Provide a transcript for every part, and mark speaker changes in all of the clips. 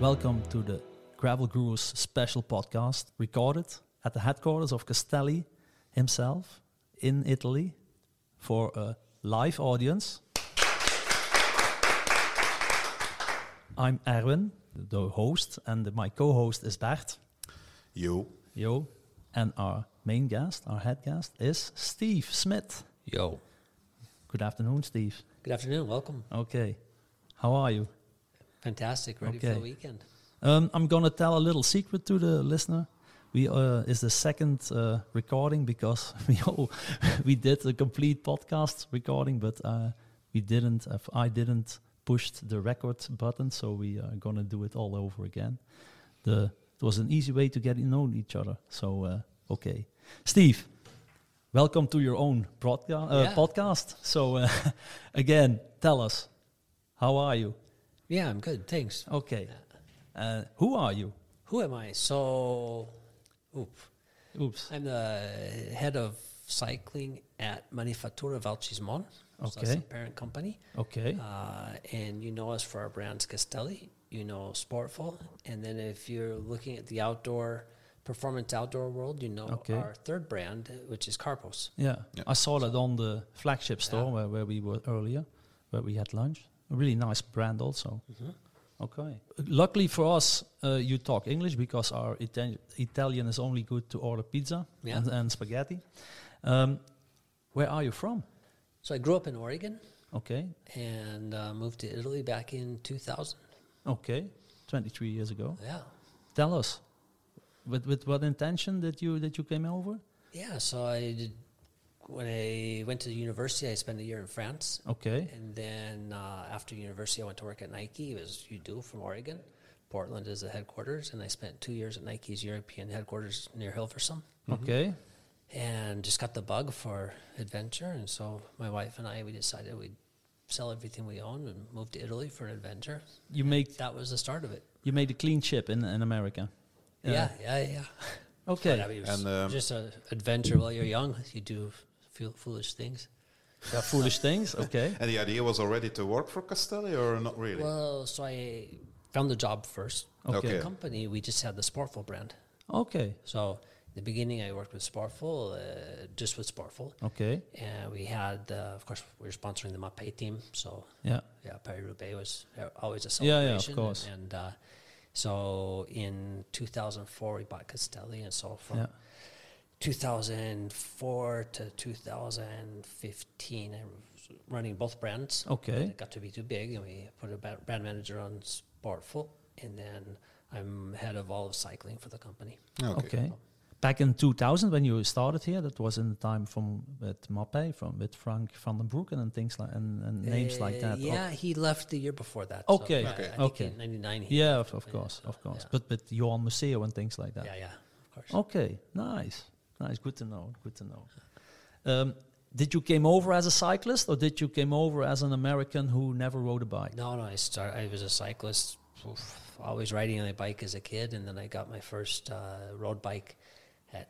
Speaker 1: Welcome to the Gravel Gurus special podcast recorded at the headquarters of Castelli himself in Italy for a live audience. I'm Erwin, the host, and my co host is Bert.
Speaker 2: Yo.
Speaker 1: Yo. And our main guest, our head guest, is Steve Smith.
Speaker 3: Yo.
Speaker 1: Good afternoon, Steve.
Speaker 3: Good afternoon. Welcome.
Speaker 1: Okay. How are you?
Speaker 3: Fantastic. Ready for
Speaker 1: Okay.
Speaker 3: the weekend.
Speaker 1: Um, I'm gonna tell a little secret to the listener. We uh, is the second uh, recording because we all, we did a complete podcast recording, but uh, we didn't. Uh, I didn't push the record button, so we are gonna do it all over again. The it was an easy way to get to know each other. So uh, okay, Steve, welcome to your own broadca- uh,
Speaker 3: Yeah.
Speaker 1: podcast. So uh, again, tell us how are you?
Speaker 3: Yeah, I'm good. Thanks.
Speaker 1: Okay, uh, who are you?
Speaker 3: Who am I? So, oop.
Speaker 1: Oops.
Speaker 3: I'm the head of cycling at Manifattura Valcismon. So that's
Speaker 1: Okay.
Speaker 3: the parent company.
Speaker 1: Okay.
Speaker 3: Uh, and you know us for our brands Castelli, you know Sportful. And then if you're looking at the outdoor performance outdoor world, you know
Speaker 1: Okay.
Speaker 3: our third brand, which is Carpos.
Speaker 1: yeah.
Speaker 2: Yeah.
Speaker 1: I saw that on the flagship store
Speaker 3: Yeah.
Speaker 1: where, where we were earlier, where we had lunch. A really nice brand, also.
Speaker 3: Mhm.
Speaker 1: Okay. Luckily for us, uh, you talk English because our Itali- Italian is only good to order pizza
Speaker 3: Yeah.
Speaker 1: and, and spaghetti. Um, where are you from?
Speaker 3: So I grew up in Oregon
Speaker 1: Okay.
Speaker 3: and uh, moved to Italy back in 2000.
Speaker 1: Okay. 23 years ago.
Speaker 3: Yeah.
Speaker 1: Tell us. With, with what intention that you that you came over?
Speaker 3: Yeah, so I did, when I went to university, I spent a year in France,
Speaker 1: Okay.
Speaker 3: and then uh, after university, I went to work at Nike. It was you do from Oregon, Portland is the headquarters, and I spent two years at Nike's European headquarters near Hilversum,
Speaker 1: Okay.
Speaker 3: and just got the bug for adventure. And so my wife and I, we decided we'd sell everything we own and move to Italy for an adventure.
Speaker 1: You make
Speaker 3: That was the start of it.
Speaker 1: you made a clean chip in, in America. Yeah.
Speaker 3: Yeah, yeah, yeah.
Speaker 1: Okay.
Speaker 3: But, I mean, it was
Speaker 2: And, um,
Speaker 3: just an adventure while you're young. You do feel foolish things.
Speaker 1: Yeah, foolish things. Okay.
Speaker 2: And the idea was already to work for Castelli or not really?
Speaker 3: Well, so I found the job first.
Speaker 1: Okay.
Speaker 3: The company, we just had the Sportful brand.
Speaker 1: Okay.
Speaker 3: So in the beginning, I worked with Sportful, uh, just with Sportful.
Speaker 1: Okay.
Speaker 3: And we had, uh, of course, we were sponsoring the Mapei team. So,
Speaker 1: Yeah.
Speaker 3: yeah, Paris Roubaix was uh, always a
Speaker 1: Yeah, yeah, of
Speaker 3: celebration.
Speaker 1: course.
Speaker 3: And, uh, so in 2004, we bought Castelli. And so from
Speaker 1: Yeah.
Speaker 3: 2004 to 2015, I was running both brands.
Speaker 1: Okay.
Speaker 3: It got to be too big, and we put a ba- brand manager on Sportful, and then I'm head of all of cycling for the company.
Speaker 1: Okay. Back in 2000, when you started here, that was in the time from with Mappe, from with Frank van den Broeken and things like and, and names like
Speaker 3: Uh,
Speaker 1: that. Oh,
Speaker 3: Yeah, he left the year before that.
Speaker 1: Okay.
Speaker 3: yeah,
Speaker 2: Okay.
Speaker 3: I think
Speaker 1: Okay.
Speaker 3: in '99. he
Speaker 1: yeah,
Speaker 3: left,
Speaker 1: of, of course,
Speaker 3: so,
Speaker 1: of course.
Speaker 3: yeah.
Speaker 1: But with Johan Museo and things like that.
Speaker 3: yeah, yeah, of course.
Speaker 1: Okay. Nice. Nice. Good to know. Good to know. Um, did you came over as a cyclist, or did you came over as an American who never rode a bike?
Speaker 3: No, no, I start. I was a cyclist, oof, always riding on a bike as a kid, and then I got my first uh, road bike at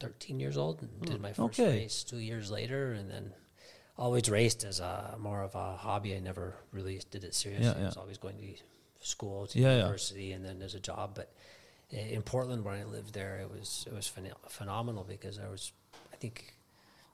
Speaker 3: 13 years old, and did my first
Speaker 1: Hmm, Okay.
Speaker 3: race two years later, and then always raced as a more of a hobby. I never really did it seriously.
Speaker 1: Yeah,
Speaker 3: I was
Speaker 1: yeah.
Speaker 3: always going to school, to
Speaker 1: Yeah, yeah.
Speaker 3: university, and then as a job. But i- in Portland, when I lived there, it was it was pheno- phenomenal because there was, I think.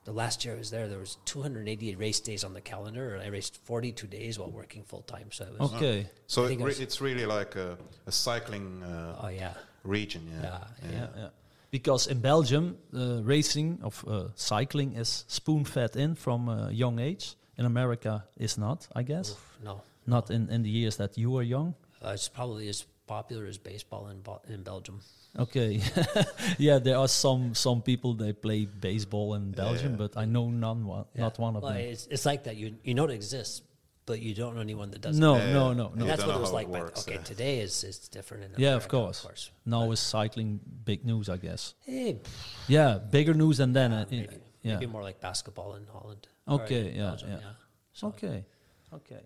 Speaker 3: The last year I was there, there was 288 race days on the calendar, and I raced 42 days while working full time. So it was,
Speaker 1: Okay.
Speaker 2: So
Speaker 3: I
Speaker 2: it
Speaker 3: think it
Speaker 2: re-
Speaker 3: was-
Speaker 2: it's really like a, a cycling uh,
Speaker 3: oh yeah,
Speaker 2: region. Yeah.
Speaker 3: Yeah,
Speaker 1: yeah. yeah. Because in Belgium, uh, racing of uh, cycling is spoon fed in from a young age. In America, is not, I guess.
Speaker 3: Oof, no,
Speaker 1: Not in, in the years that you were young.
Speaker 3: Uh, it's probably as popular as baseball in Bo- in Belgium.
Speaker 1: Okay, yeah, there are some some people they play baseball in Belgium,
Speaker 2: yeah.
Speaker 1: but I know none, one, not
Speaker 3: Yeah.
Speaker 1: one of
Speaker 3: Well,
Speaker 1: them.
Speaker 3: It's, it's like that. You you know it exists, but you don't know anyone that doesn't.
Speaker 1: No,
Speaker 2: Yeah,
Speaker 1: no, no,
Speaker 2: yeah. You
Speaker 1: no.
Speaker 3: And that's
Speaker 2: don't
Speaker 3: what
Speaker 2: know
Speaker 3: it was
Speaker 2: how
Speaker 3: like.
Speaker 2: it
Speaker 3: back-
Speaker 2: works, uh.
Speaker 3: okay,
Speaker 2: yeah.
Speaker 3: today is it's different. In
Speaker 1: Yeah,
Speaker 3: America,
Speaker 1: of course.
Speaker 3: Of course.
Speaker 1: Now is cycling big news, I guess.
Speaker 3: Eh, pff,
Speaker 1: Yeah, bigger news than then. uh, i-
Speaker 3: maybe,
Speaker 1: yeah.
Speaker 3: maybe more like basketball in Holland. or
Speaker 1: Okay,
Speaker 3: in
Speaker 1: yeah,
Speaker 3: Belgium,
Speaker 1: yeah.
Speaker 3: So,
Speaker 1: Okay, okay.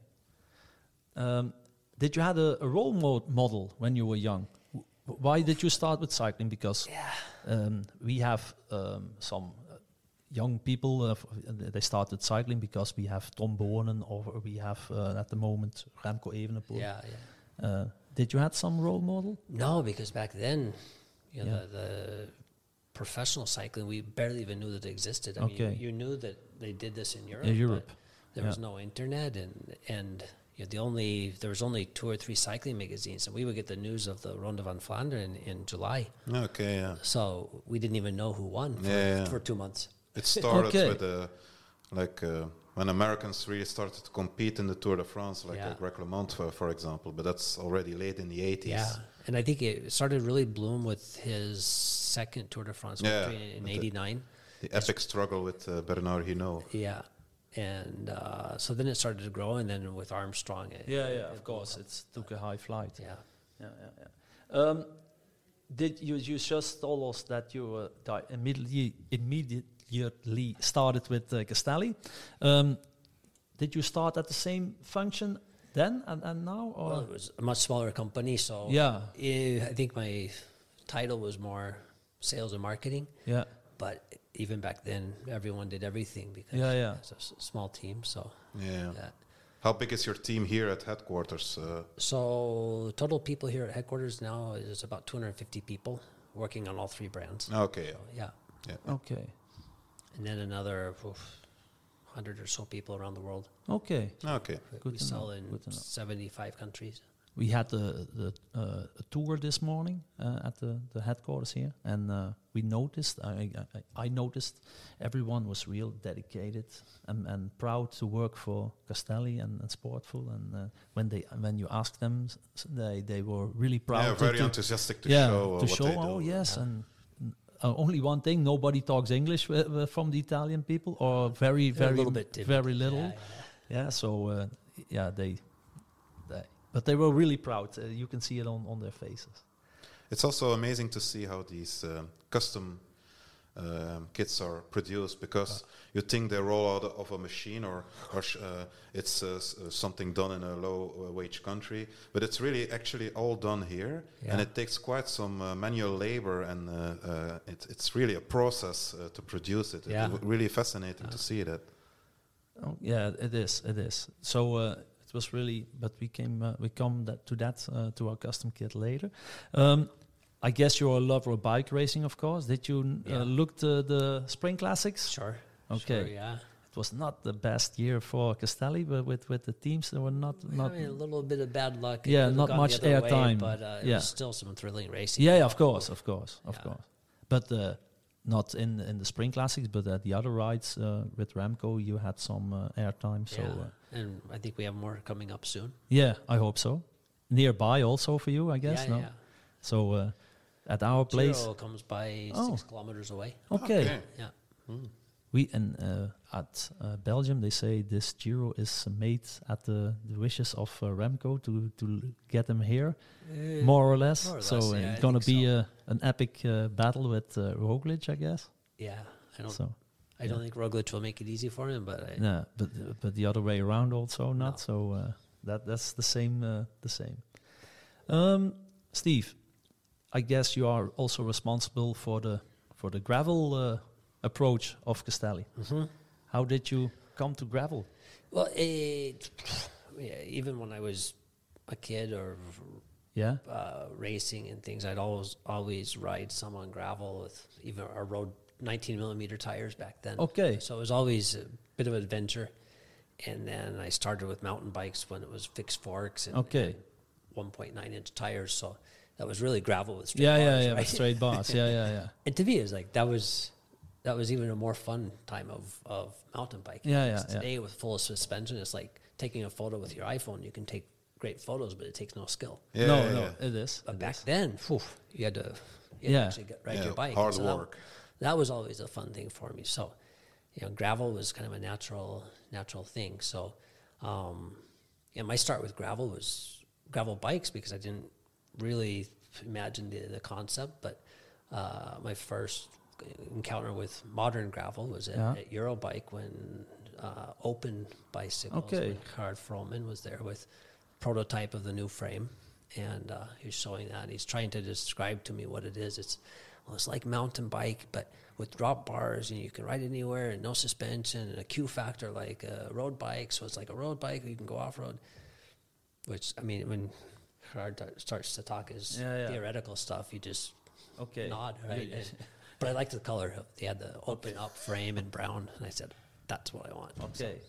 Speaker 1: Um, did you had a, a role mo- model when you were young? W- Why did you start with cycling? Because
Speaker 3: Yeah.
Speaker 1: um, we have um, some uh, young people. Uh, f- uh, they started cycling because we have Tom Bonen, or we have uh, at the moment Remco Evenepoel.
Speaker 3: Yeah, yeah.
Speaker 1: Uh, Did you have some role model?
Speaker 3: No, because back then, you know,
Speaker 1: Yeah.
Speaker 3: the, the professional cycling, we barely even knew that it existed. I
Speaker 1: Okay.
Speaker 3: mean, you, you knew that they did this in Europe.
Speaker 1: In
Speaker 3: but
Speaker 1: Europe,
Speaker 3: there
Speaker 1: yeah.
Speaker 3: was no internet, and and you know, the only there was only two or three cycling magazines, and we would get the news of the Ronde van Flanders in, in July.
Speaker 2: Okay, yeah.
Speaker 3: So we didn't even know who won for,
Speaker 2: Yeah, yeah.
Speaker 3: for two months.
Speaker 2: It started
Speaker 1: Okay.
Speaker 2: with uh, like uh, when Americans really started to compete in the Tour de France, like
Speaker 3: Yeah.
Speaker 2: uh, Greg LeMond, for, for example. But that's already late in the 80s.
Speaker 3: Yeah, and I think it started really bloom with his second Tour de France
Speaker 2: Yeah,
Speaker 3: victory in
Speaker 2: with the-
Speaker 3: '89.
Speaker 2: The epic struggle with uh, Bernard Hinault.
Speaker 3: Yeah, and uh, so then it started to grow, and then with Armstrong, it,
Speaker 1: Yeah, yeah, of course. It's took a high flight.
Speaker 3: yeah.
Speaker 1: yeah, yeah. yeah. Um, did you you just told us that you uh, di- immediately immediately started with uh, Castelli? Um, did you start at the same function then and, and now? Or
Speaker 3: Well, it was a much smaller company, so
Speaker 1: Yeah.
Speaker 3: eh, I think my title was more sales and marketing.
Speaker 1: yeah,
Speaker 3: But even back then, everyone did everything because
Speaker 1: Yeah, yeah.
Speaker 3: it's a s- small team. So
Speaker 2: Yeah.
Speaker 3: yeah.
Speaker 2: How big is your team here at headquarters? Uh,
Speaker 3: so total people here at headquarters now is about 250 people working on all three brands.
Speaker 2: okay, yeah.
Speaker 3: Yeah,
Speaker 2: yeah.
Speaker 1: okay,
Speaker 3: and then another oof, 100 or so people around the world.
Speaker 1: okay.
Speaker 2: Okay.
Speaker 1: Good
Speaker 3: we
Speaker 1: to know,
Speaker 3: sell in
Speaker 1: good to know.
Speaker 3: 75 countries.
Speaker 1: We had the the uh, a tour this morning uh, at the, the headquarters here, and uh, we noticed. I, I- I I noticed everyone was real dedicated and, and proud to work for Castelli and, and Sportful. And uh, when they when you ask them, s- s- they they were really proud.
Speaker 2: Yeah,
Speaker 1: to-
Speaker 2: very
Speaker 1: to,
Speaker 2: enthusiastic to
Speaker 1: yeah,
Speaker 2: show uh,
Speaker 1: to
Speaker 2: what
Speaker 1: show.
Speaker 2: they do.
Speaker 1: oh yes, and uh, only one thing: nobody talks English wi- wi- from the Italian people, or very
Speaker 3: They're
Speaker 1: very
Speaker 3: a little bit different.
Speaker 1: very little.
Speaker 3: Yeah, yeah.
Speaker 1: Yeah, so uh, yeah, they, they, but they were really proud. Uh, you can see it on, on their faces.
Speaker 2: It's also amazing to see how these um, custom um, kits are produced
Speaker 1: Uh.
Speaker 2: because you think they roll out of a machine or, or sh- uh, it's uh, s- uh, something done in a low uh, wage country, but it's really actually all done here, and
Speaker 3: Yeah.
Speaker 2: it takes quite some uh, manual labor, and uh, uh, it, it's really a process uh, to produce it.
Speaker 3: Yeah.
Speaker 2: It's w- really fascinating to see that.
Speaker 1: Oh, yeah, it is. It is. So uh, it was really. But we came. Uh, we come that to that uh, to our custom kit later. Um, I guess you're a lover of bike racing, of course. Did you n-
Speaker 3: Yeah.
Speaker 1: uh, look to the spring classics?
Speaker 3: Sure.
Speaker 1: Okay.
Speaker 3: Sure, yeah.
Speaker 1: It was not the best year for Castelli, but with with the teams they were not not.
Speaker 3: I mean, a little bit of bad luck. It
Speaker 1: Yeah,
Speaker 3: could have
Speaker 1: not
Speaker 3: gone the
Speaker 1: much
Speaker 3: other way,
Speaker 1: airtime.
Speaker 3: but uh, it
Speaker 1: Yeah.
Speaker 3: was still some thrilling racing.
Speaker 1: Yeah, yeah, of course, of course, of
Speaker 3: Yeah.
Speaker 1: course. But uh, not in in the spring classics, but at the other rides uh, with Ramco, you had some uh, airtime. So
Speaker 3: Yeah.
Speaker 1: uh,
Speaker 3: and I think we have more coming up soon.
Speaker 1: yeah, I hope so. Nearby also for you, I guess.
Speaker 3: yeah,
Speaker 1: no,
Speaker 3: yeah.
Speaker 1: so uh, at our place,
Speaker 3: Giro comes by
Speaker 1: Oh.
Speaker 3: six kilometers away.
Speaker 1: okay.
Speaker 3: Yeah. Hmm.
Speaker 1: We in uh, at uh, Belgium, they say this Giro is made at the, the wishes of uh, Ramco to to get them here, more or less.
Speaker 3: more or
Speaker 1: so
Speaker 3: less,
Speaker 1: uh,
Speaker 3: yeah, I
Speaker 1: it's gonna
Speaker 3: think
Speaker 1: be
Speaker 3: so.
Speaker 1: uh, an epic uh, battle with uh, Roglic, I guess.
Speaker 3: Yeah. I don't.
Speaker 1: So.
Speaker 3: I don't think Roglic will make it easy for him, but I,
Speaker 1: Yeah, but but the other way around also not.
Speaker 3: No.
Speaker 1: So uh, that that's the same uh, the same. Um, Steve, I guess you are also responsible for the for the gravel uh, approach of Castelli.
Speaker 3: Mm-hmm.
Speaker 1: How did you come to gravel?
Speaker 3: well, it, yeah, even when I was a kid or
Speaker 1: Yeah,
Speaker 3: uh, racing and things, I'd always always ride some on gravel with even I rode 19 millimeter tires back then.
Speaker 1: Okay.
Speaker 3: so it was always a bit of adventure. And then I started with mountain bikes when it was fixed forks and,
Speaker 1: Okay.
Speaker 3: and 1.9 inch tires. So that was really gravel with straight
Speaker 1: yeah, yeah,
Speaker 3: bars,
Speaker 1: yeah.
Speaker 3: right?
Speaker 1: with Straight bars. yeah, yeah, yeah.
Speaker 3: And to me, it was like that was that was even a more fun time of of mountain biking.
Speaker 1: Yeah,
Speaker 3: Because
Speaker 1: yeah, yeah.
Speaker 3: Today with full suspension, it's like taking a photo with your iPhone. You can take great photos, but it takes no skill.
Speaker 2: Yeah,
Speaker 1: no,
Speaker 2: yeah,
Speaker 1: no,
Speaker 2: yeah.
Speaker 1: it is.
Speaker 3: But back then, phew, you had to, you had
Speaker 1: Yeah.
Speaker 3: to actually get, ride
Speaker 2: Yeah,
Speaker 3: your bike.
Speaker 2: hard
Speaker 3: So that-
Speaker 2: work.
Speaker 3: That, was always a fun thing for me. So, you know, gravel was kind of a natural, natural thing. So, um, yeah, my start with gravel was gravel bikes because I didn't really imagine the, the concept. But uh, my first encounter with modern gravel was at,
Speaker 1: Yeah.
Speaker 3: at Eurobike when uh, Open Bicycles,
Speaker 1: Okay.
Speaker 3: when Hard Froman was there with prototype of the new frame, and uh, he's showing that. He's trying to describe to me what it is. It's well, it's like mountain bike, but with drop bars, and you can ride anywhere, and no suspension, and a Q factor like a road bike. So it's like a road bike. You can go off road, which I mean, when Gerard t- starts to talk his
Speaker 1: Yeah, yeah.
Speaker 3: theoretical stuff, you just
Speaker 1: Okay.
Speaker 3: nod,
Speaker 1: Yeah,
Speaker 3: right?
Speaker 1: yeah.
Speaker 3: And- but I liked the color. of- They had the open up frame in brown, and I said, "That's what I want." So-
Speaker 1: Okay.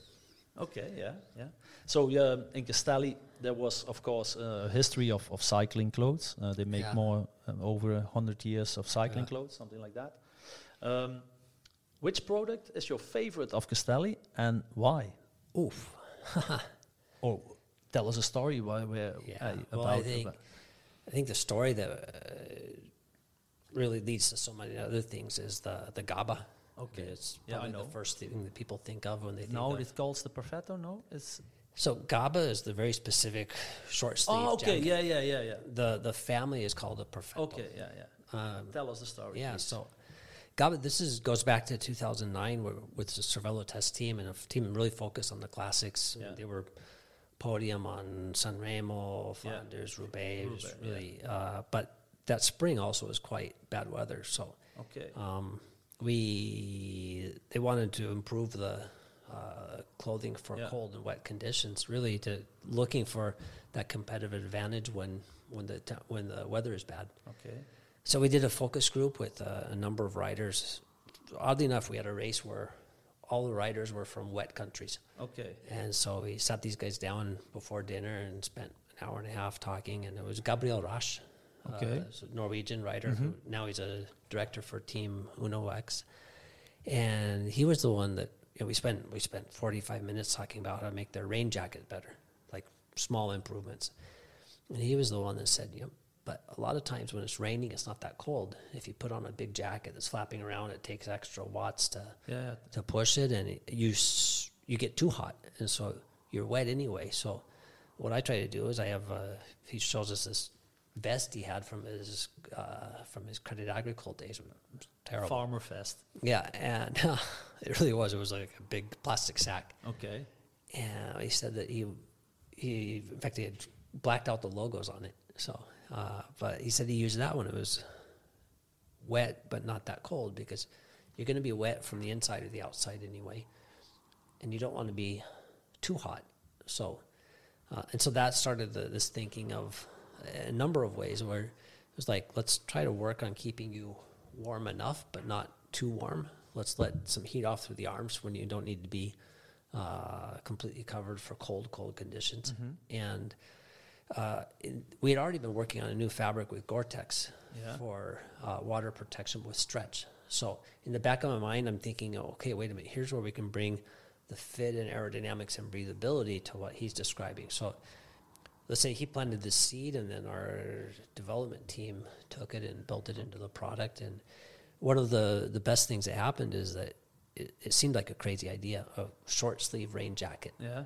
Speaker 1: Okay, yeah, yeah. So yeah, in Castelli, there was, of course, uh, a history of, of cycling clothes. Uh, they make
Speaker 3: Yeah.
Speaker 1: more, um, over a 100 years of cycling
Speaker 3: Yeah.
Speaker 1: clothes, something like that. Um, which product is your favorite of Castelli and why?
Speaker 3: Oof.
Speaker 1: Or tell us a story why we're
Speaker 3: Yeah.
Speaker 1: uh,
Speaker 3: well,
Speaker 1: about
Speaker 3: I think
Speaker 1: about-
Speaker 3: I think the story that uh, really leads to so many other things is the the GABA.
Speaker 1: Okay.
Speaker 3: it's
Speaker 1: Yeah, I
Speaker 3: probably
Speaker 1: know.
Speaker 3: the first thing that people think of when they think
Speaker 1: now
Speaker 3: of.
Speaker 1: it calls the perfetto, no? It's
Speaker 3: So GABA is the very specific short sleeve.
Speaker 1: Oh, okay,
Speaker 3: jacket.
Speaker 1: yeah, yeah, yeah, yeah.
Speaker 3: The the family is called a perfecto. Uh,
Speaker 1: Okay, yeah, yeah. tell us the story.
Speaker 3: Yeah.
Speaker 1: please.
Speaker 3: So, GABA. This is goes back to 2009 where, with the Cervelo test team and a f- team really focused on the classics.
Speaker 1: Yeah.
Speaker 3: They were podium on San Remo,
Speaker 1: Yeah.
Speaker 3: Flanders, Roubaix. It was
Speaker 1: Roubaix, yeah.
Speaker 3: really, uh, but that spring also was quite bad weather. So,
Speaker 1: Okay.
Speaker 3: um, we they wanted to improve the uh, clothing for
Speaker 1: Yeah.
Speaker 3: cold and wet conditions. Really, to looking for that competitive advantage when when the te- when the weather is bad.
Speaker 1: okay.
Speaker 3: So we did a focus group with uh, a number of riders. Oddly enough, we had a race where all the riders were from wet countries,
Speaker 1: Okay.
Speaker 3: and so we sat these guys down before dinner and spent an hour and a half talking. And it was Gabriel Rasch,
Speaker 1: Okay.
Speaker 3: uh, so Norwegian writer. Who now he's a director for Team Uno X, and he was the one that you know, we spent we spent forty five minutes talking about how to make their rain jacket better, like small improvements. And he was the one that said, you know, but a lot of times when it's raining, it's not that cold. If you put on a big jacket that's flapping around, it takes extra watts to
Speaker 1: Yeah.
Speaker 3: to push it, and it- you s- you get too hot, and so you're wet anyway. So what I try to do is I have uh, he shows us this vest he had from his uh, from his Credit Agricole days, which was terrible.
Speaker 1: Farmer Fest.
Speaker 3: Yeah, and it really was. It was like a big plastic sack,
Speaker 1: Okay.
Speaker 3: and he said that he he in fact he had blacked out the logos on it. So, uh, but he said he used that when it was wet but not that cold because you're going to be wet from the inside or the outside anyway, and you don't want to be too hot. So, uh, and so that started the, this thinking of a number of ways where it was like let's try to work on keeping you warm enough but not too warm. Let's let some heat off through the arms when you don't need to be uh, completely covered for cold, cold conditions. And uh, in, we had already been working on a new fabric with Gore-Tex
Speaker 1: Yeah.
Speaker 3: for uh, water protection with stretch. So in the back of my mind, I'm thinking, oh, okay, wait a minute. Here's where we can bring the fit and aerodynamics and breathability to what he's describing. So let's say he planted the seed, and then our development team took it and built it into the product. And one of the the best things that happened is that it, it seemed like a crazy idea, a short sleeve rain jacket,
Speaker 1: Yeah.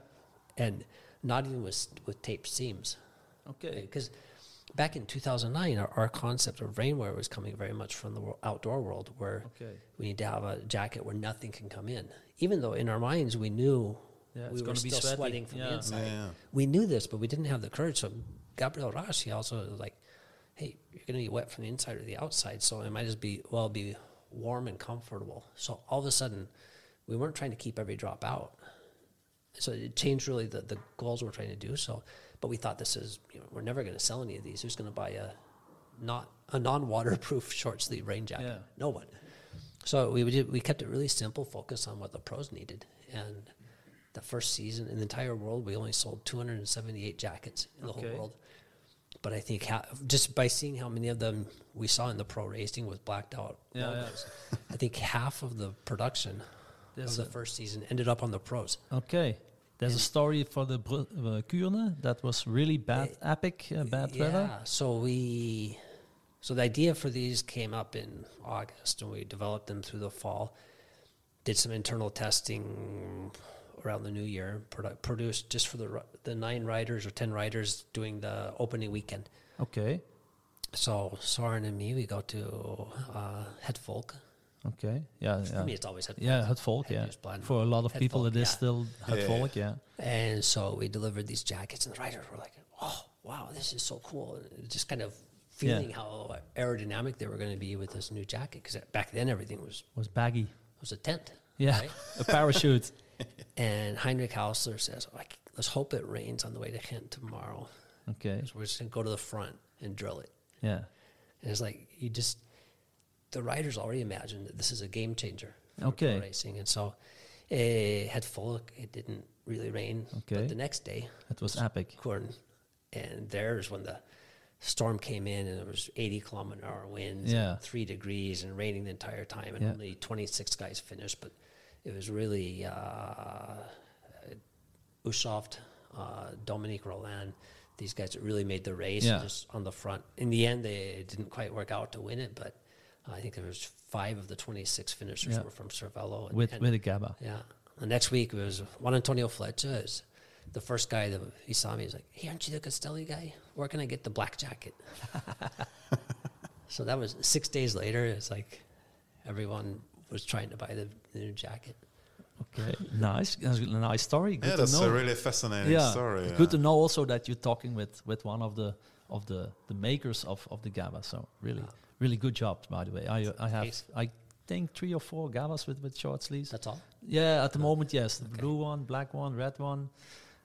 Speaker 3: and not even with with taped seams.
Speaker 1: Okay.
Speaker 3: Because back in 2009, our, our concept of rainwear was coming very much from the wor- outdoor world where
Speaker 1: Okay.
Speaker 3: we need to have a jacket where nothing can come in. Even though in our minds we knew
Speaker 1: Yeah, it's
Speaker 3: we were
Speaker 1: gonna be
Speaker 3: still
Speaker 1: sweaty.
Speaker 3: sweating from
Speaker 1: Yeah.
Speaker 3: the inside.
Speaker 2: Yeah.
Speaker 3: We knew this, but we didn't have the courage. So Gabriel Ross, he also was like, hey, you're going to be wet from the inside or the outside, so it might as be well be warm and comfortable. So all of a sudden, we weren't trying to keep every drop out. So it changed really the, the goals we're trying to do. So, but we thought this is you know, we're never going to sell any of these. Who's going to buy a not a non waterproof short sleeve rain jacket?
Speaker 1: Yeah.
Speaker 3: No one. So we did, we kept it really simple, focused on what the pros needed. And the first season in the entire world, we only sold 278 jackets in the
Speaker 1: Okay.
Speaker 3: whole world. But I think ha- just by seeing how many of them we saw in the pro racing with blacked out
Speaker 1: Yeah, yeah.
Speaker 3: logos, I think half of the production
Speaker 1: That's
Speaker 3: of the
Speaker 1: it.
Speaker 3: first season ended up on the pros.
Speaker 1: Okay. There's a story for the Bru- uh, Kuurne that was really bad, epic, uh, bad weather.
Speaker 3: Yeah, so we, so the idea for these came up in August, and we developed them through the fall. Did some internal testing around the new year. Produ- produced just for the ri- the nine riders or ten riders doing the opening weekend.
Speaker 1: Okay.
Speaker 3: So Soren and me, we go to uh, Het Volk.
Speaker 1: Okay. Yeah.
Speaker 3: For me,
Speaker 1: Yeah.
Speaker 3: it's always Het Volk.
Speaker 1: Yeah, het volk,
Speaker 3: Het
Speaker 1: yeah.
Speaker 3: is blind.
Speaker 1: For a lot of
Speaker 3: Het
Speaker 1: people,
Speaker 3: volk,
Speaker 1: it is
Speaker 3: yeah.
Speaker 1: still het
Speaker 2: Yeah.
Speaker 1: volk, yeah.
Speaker 3: And so we delivered these jackets, and the riders were like, "Oh, wow, this is so cool!" And just kind of feeling how aerodynamic they were going to be with this new jacket, because back then everything was
Speaker 1: Was baggy.
Speaker 3: was a tent.
Speaker 1: Yeah.
Speaker 3: right?
Speaker 1: a parachute.
Speaker 3: And Heinrich Hausler says, like, "Let's hope it rains on the way to Kent tomorrow."
Speaker 1: Okay.
Speaker 3: So we're just gonna go to the front and drill it.
Speaker 1: Yeah.
Speaker 3: And it's like you just the riders already imagined that this is a game changer for pro
Speaker 1: Okay.
Speaker 3: racing, and so it had full. It didn't really rain.
Speaker 1: Okay.
Speaker 3: But the next day,
Speaker 1: It was epic.
Speaker 3: corn, and there's when the storm came in and it was 80 kilometer an hour winds,
Speaker 1: Yeah.
Speaker 3: and three degrees, and raining the entire time, and
Speaker 1: Yeah.
Speaker 3: only 26 guys finished, but it was really uh, Usoft, uh, Dominique Roland. These guys that really made the race
Speaker 1: Yeah.
Speaker 3: just on the front. In the end, they, it didn't quite work out to win it, but I think there was five of the 26 finishers
Speaker 1: Yeah.
Speaker 3: were from Cervelo. and-
Speaker 1: With
Speaker 3: and-
Speaker 1: with a GABA.
Speaker 3: yeah. The next week it was Juan Antonio Fletcher. Is the first guy that he saw me. He's like, "Hey, aren't you the Castelli guy? Where can I get the black jacket?" so that was six days later. It's like everyone was trying to buy the, the new jacket.
Speaker 1: Okay. nice. That's a nice story. Good
Speaker 2: yeah,
Speaker 1: to
Speaker 2: that's
Speaker 1: know.
Speaker 2: a really fascinating story.
Speaker 1: Good to
Speaker 2: yeah.
Speaker 1: know also that you're talking with with one of the of the the makers of of the GABA. So really,
Speaker 3: Yeah.
Speaker 1: really good job, by the way. I I have
Speaker 3: Thanks.
Speaker 1: I think three or four GABAs with with short sleeves.
Speaker 3: That's all.
Speaker 1: yeah, at the moment, yes, the
Speaker 3: Okay.
Speaker 1: blue one, black one, red one,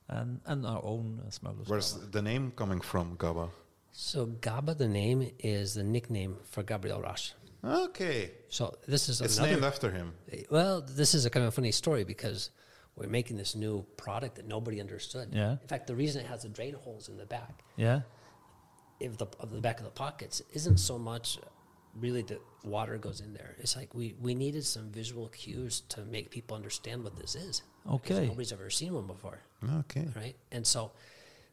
Speaker 1: and and our own uh, smugglers.
Speaker 2: Where's
Speaker 1: GABA.
Speaker 2: the name coming from, Gaba?
Speaker 3: So Gaba, the name is the nickname for Gabriel Roche.
Speaker 2: Okay,
Speaker 3: So this is
Speaker 2: it's
Speaker 3: another. Eh,
Speaker 2: named after him.
Speaker 3: Well, this is a kind of funny story because we're making this new product that nobody understood.
Speaker 1: Yeah.
Speaker 3: In fact, the reason it has the drain holes in the back
Speaker 1: yeah,
Speaker 3: of the, of the back of the pockets isn't so much really that water goes in there. It's like we, we needed some visual cues to make people understand what this is. because
Speaker 1: Okay.
Speaker 3: Nobody's ever seen one before,
Speaker 2: Okay,
Speaker 3: right? And so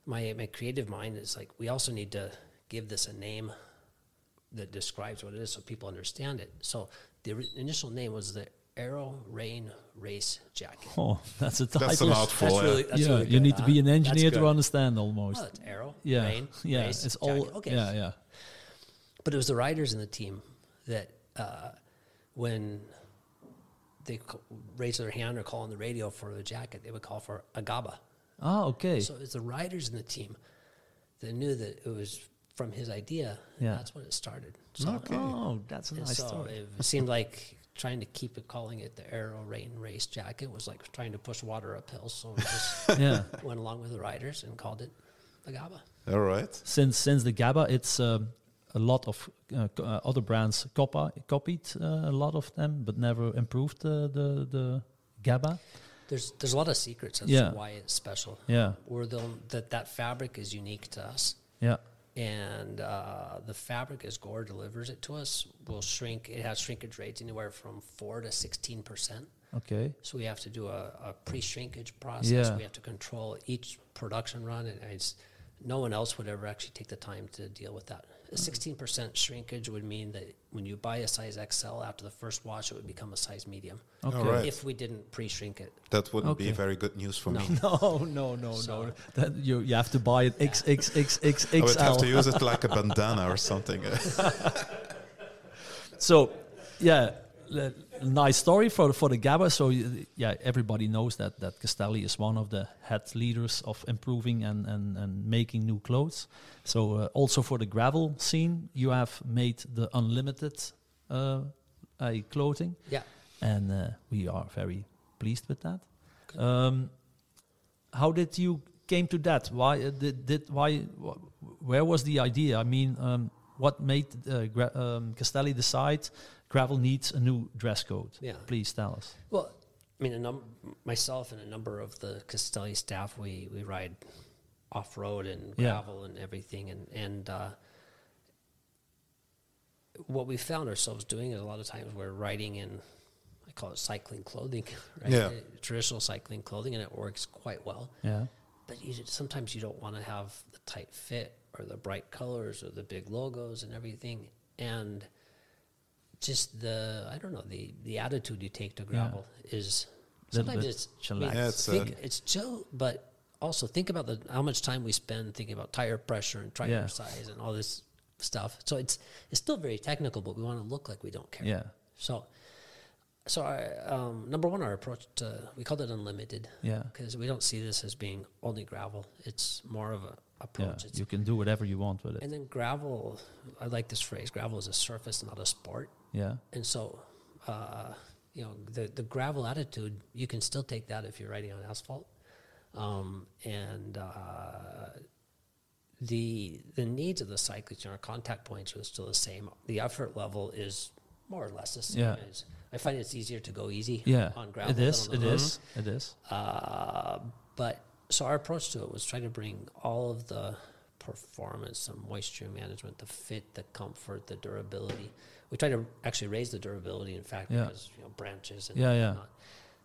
Speaker 3: my, my creative mind is like, we also need to give this a name that describes what it is so people understand it. So the ori- initial name was the Arrow Rain Race Jacket.
Speaker 1: oh, that's a title.
Speaker 2: that's a mouthful.
Speaker 3: That's
Speaker 2: yeah.
Speaker 3: really, that's
Speaker 1: yeah,
Speaker 3: really
Speaker 1: you
Speaker 3: good,
Speaker 1: need to
Speaker 3: huh?
Speaker 1: be an
Speaker 3: That's
Speaker 1: engineer
Speaker 3: good.
Speaker 1: to understand almost.
Speaker 3: Well, Oh, it's Arrow,
Speaker 1: yeah,
Speaker 3: Rain,
Speaker 1: yeah,
Speaker 3: Race,
Speaker 1: it's all
Speaker 3: Jacket. Okay,
Speaker 1: yeah, yeah,
Speaker 3: but it was the riders in the team that uh, when they c- raise their hand or call on the radio for the jacket, they would call for Agaba.
Speaker 1: ah, okay,
Speaker 3: So it's the riders in the team that knew that it was from his idea. And
Speaker 1: Yeah.
Speaker 3: That's when it started. So,
Speaker 2: Okay.
Speaker 1: oh, that's a
Speaker 3: and
Speaker 1: nice
Speaker 3: so
Speaker 1: story.
Speaker 3: it seemed like trying to keep it calling it the Aero Rain Race Jacket was like trying to push water uphill. So we just
Speaker 1: yeah.
Speaker 3: went along with the riders and called it Agaba.
Speaker 2: All right.
Speaker 1: since since the GABA, it's um, a lot of uh, co- uh, other brands copa, copied uh, a lot of them, but never improved the the, the GABA.
Speaker 3: There's there's a lot of secrets. That's
Speaker 1: Yeah.
Speaker 3: why it's special.
Speaker 1: Yeah,
Speaker 3: Or the, that that fabric is unique to us.
Speaker 1: yeah,
Speaker 3: and uh, the fabric as Gore delivers it to us will shrink. It has shrinkage rates anywhere from four to sixteen percent.
Speaker 1: okay,
Speaker 3: So we have to do a, a pre-shrinkage process.
Speaker 1: Yeah.
Speaker 3: We have to control each production run, and it's, no one else would ever actually take the time to deal with that.
Speaker 1: Mm-hmm.
Speaker 3: A sixteen percent shrinkage would mean that when you buy a size XL after the first wash, it would become a size medium.
Speaker 1: okay.
Speaker 2: All right.
Speaker 3: If we didn't pre-shrink it,
Speaker 2: That wouldn't be
Speaker 1: Okay.
Speaker 2: very good news for me.
Speaker 1: No, no, no, no.
Speaker 3: So-
Speaker 1: That you you have to buy it
Speaker 2: I would have to
Speaker 1: XXXXXL.
Speaker 2: use it like a bandana or something.
Speaker 1: So, yeah. le- Nice story for for the GABA. So y- yeah, everybody knows that that Castelli is one of the head leaders of improving and and, and making new clothes. So uh, also for the gravel scene, you have made the unlimited uh, uh, clothing,
Speaker 3: yeah,
Speaker 1: and uh, we are very pleased with that. Um, how did you came to that? Why uh, did, did why wh- where was the idea? I mean, um, what made uh, gra- um, Castelli decide gravel needs a new dress code?
Speaker 3: Yeah.
Speaker 1: Please tell us.
Speaker 3: Well, I mean, a num- myself and a number of the Castelli staff, we, we ride off road and
Speaker 1: Yeah.
Speaker 3: gravel and everything, and and uh, what we found ourselves doing is a lot of times we're riding in, I call it cycling clothing, right?
Speaker 2: Yeah.
Speaker 3: Uh, Traditional cycling clothing, and it works quite well.
Speaker 1: Yeah.
Speaker 3: But you, just- sometimes you don't want to have the tight fit or the bright colors or the big logos and everything, and just the I don't know the the attitude you take to gravel is
Speaker 1: Little
Speaker 3: sometimes
Speaker 1: bit
Speaker 3: it's
Speaker 1: chillax.
Speaker 2: Yeah, it's,
Speaker 3: think
Speaker 2: uh,
Speaker 3: it's chill, but also think about the how much time we spend thinking about tire pressure and tire
Speaker 1: Yeah.
Speaker 3: size and all this stuff. So it's it's still very technical, but we want to look like we don't care.
Speaker 1: Yeah.
Speaker 3: So so I, um, number one, our approach to we called it unlimited
Speaker 1: Yeah.
Speaker 3: because we don't see this as being only gravel. It's more of a
Speaker 1: Yeah.
Speaker 3: approach. It's,
Speaker 1: You can do whatever you want with it.
Speaker 3: and then gravel, I like this phrase. Gravel is a surface, not a sport.
Speaker 1: Yeah.
Speaker 3: And so, uh, you know, the, the gravel attitude, you can still take that if you're riding on asphalt. Um, and uh, the the needs of the cyclists and our contact points are still the same. The effort level is more or less the same.
Speaker 1: Yeah.
Speaker 3: It's- I find it's easier to go easy
Speaker 1: Yeah,
Speaker 3: on gravel.
Speaker 1: it
Speaker 3: than
Speaker 1: is.
Speaker 3: on the
Speaker 1: It
Speaker 3: road.
Speaker 1: is. It is.
Speaker 3: Uh, but so our approach to it was try to bring all of the performance, the moisture management, the fit, the comfort, the durability. We try to actually raise the durability, in fact,
Speaker 1: Yeah.
Speaker 3: because you know branches and
Speaker 1: Yeah, yeah.
Speaker 3: whatnot.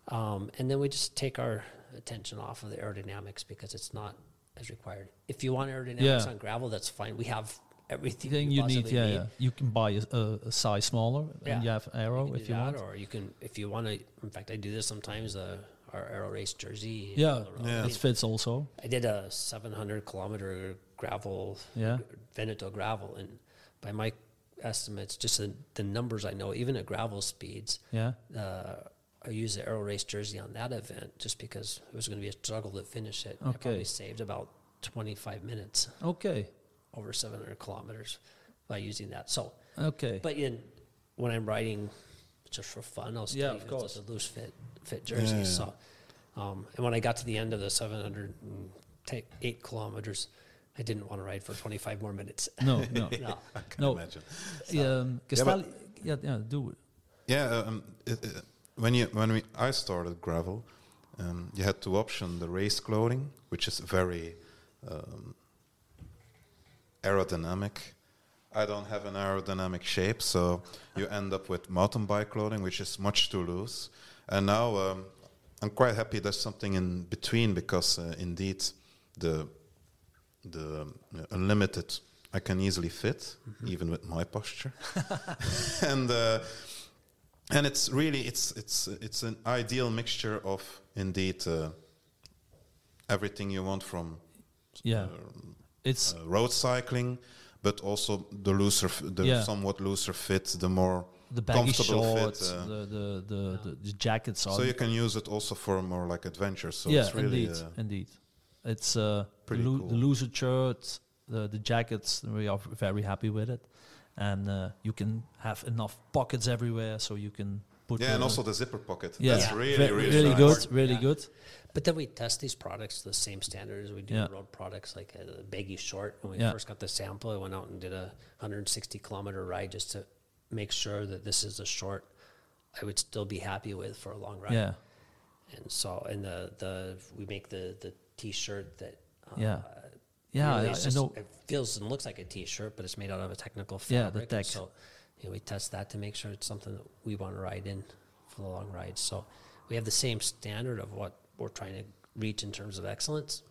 Speaker 3: Um, and then we just take our attention off of the aerodynamics because it's not as required. If you want aerodynamics
Speaker 1: Yeah.
Speaker 3: on gravel, that's fine. We have everything
Speaker 1: Thing
Speaker 3: we
Speaker 1: you need,
Speaker 3: possibly
Speaker 1: yeah, yeah. You can buy a, a, a size smaller,
Speaker 3: Yeah.
Speaker 1: and you have arrow
Speaker 3: can
Speaker 1: if
Speaker 3: do
Speaker 1: you
Speaker 3: that,
Speaker 1: want.
Speaker 3: or you can if you want to. In fact, I do this sometimes. Uh, our aero race jersey. on
Speaker 1: Yeah,
Speaker 3: the road.
Speaker 2: Yeah.
Speaker 1: it fits also.
Speaker 3: I did a 700 kilometer gravel,
Speaker 1: Yeah.
Speaker 3: Veneto gravel, and by my estimates, just the, the numbers I know, even at gravel speeds,
Speaker 1: Yeah,
Speaker 3: uh, I used the Aero Race jersey on that event just because it was going to be a struggle to finish it. I
Speaker 1: Okay.
Speaker 3: probably saved about 25 minutes
Speaker 1: okay,
Speaker 3: over 700 kilometers by using that. So,
Speaker 1: okay.
Speaker 3: but in, when I'm riding just for fun, I'll
Speaker 1: Yeah,
Speaker 3: still
Speaker 1: of
Speaker 3: use
Speaker 1: course.
Speaker 3: just a loose fit fit jersey.
Speaker 2: Yeah, yeah.
Speaker 3: So, um, and when I got to the end of the 708 kilometers, I didn't want to ride for 25 more minutes.
Speaker 1: no, no,
Speaker 3: no,
Speaker 2: I can
Speaker 1: No.
Speaker 2: imagine.
Speaker 1: yeah, um,
Speaker 2: Yeah, but-
Speaker 1: Castelli, yeah, yeah, do it.
Speaker 2: Yeah, uh, um, it, it, when you when we, I started gravel, um, you had two options: the race clothing, which is very um, aerodynamic. I don't have an aerodynamic shape, so you end up with mountain bike clothing, which is much too loose. And now um, I'm quite happy there's something in between because uh, indeed the the um, unlimited I can easily fit, even with my posture, and. Uh, and it's really it's it's it's an ideal mixture of indeed uh, everything you want from
Speaker 1: Yeah, it's
Speaker 2: uh, road cycling but also the looser f- the
Speaker 1: Yeah.
Speaker 2: somewhat looser fit the more
Speaker 1: the baggy
Speaker 2: comfortable fit,
Speaker 1: shorts, the,
Speaker 2: uh,
Speaker 1: the, the, the, the jackets are.
Speaker 2: so you can use it also for more like adventure so
Speaker 1: yeah,
Speaker 2: it's really
Speaker 1: indeed,
Speaker 2: uh,
Speaker 1: indeed. It's uh, the,
Speaker 2: pretty
Speaker 1: loo-
Speaker 2: cool.
Speaker 1: the looser shirts, the the jackets. We are very happy with it, and uh, you can have enough pockets everywhere, so you can put.
Speaker 2: yeah and
Speaker 1: uh,
Speaker 2: also the zipper pocket
Speaker 1: yeah,
Speaker 2: that's
Speaker 3: Yeah.
Speaker 2: really
Speaker 1: ve-
Speaker 2: really,
Speaker 1: really
Speaker 2: nice.
Speaker 1: good, really
Speaker 3: Yeah.
Speaker 1: good.
Speaker 3: But then we test these products to the same standard as we do
Speaker 1: Yeah.
Speaker 3: road products, like uh, the baggy short. When we
Speaker 1: Yeah.
Speaker 3: first got the sample, I went out and did a 160 kilometer ride just to make sure that this is a short I would still be happy with for a long ride.
Speaker 1: Yeah,
Speaker 3: And so, and the the we make the the t-shirt that uh,
Speaker 1: Yeah. yeah,
Speaker 3: really
Speaker 1: I,
Speaker 3: it's
Speaker 1: I
Speaker 3: just-
Speaker 1: know.
Speaker 3: it feels and looks like a t-shirt, but it's made out of a technical
Speaker 1: Yeah, the
Speaker 3: fabric. and
Speaker 1: tech.
Speaker 3: So, you know, we test that to make sure it's something that we want to ride in for the long ride. So, we have the same standard of what we're trying to reach in terms of excellence,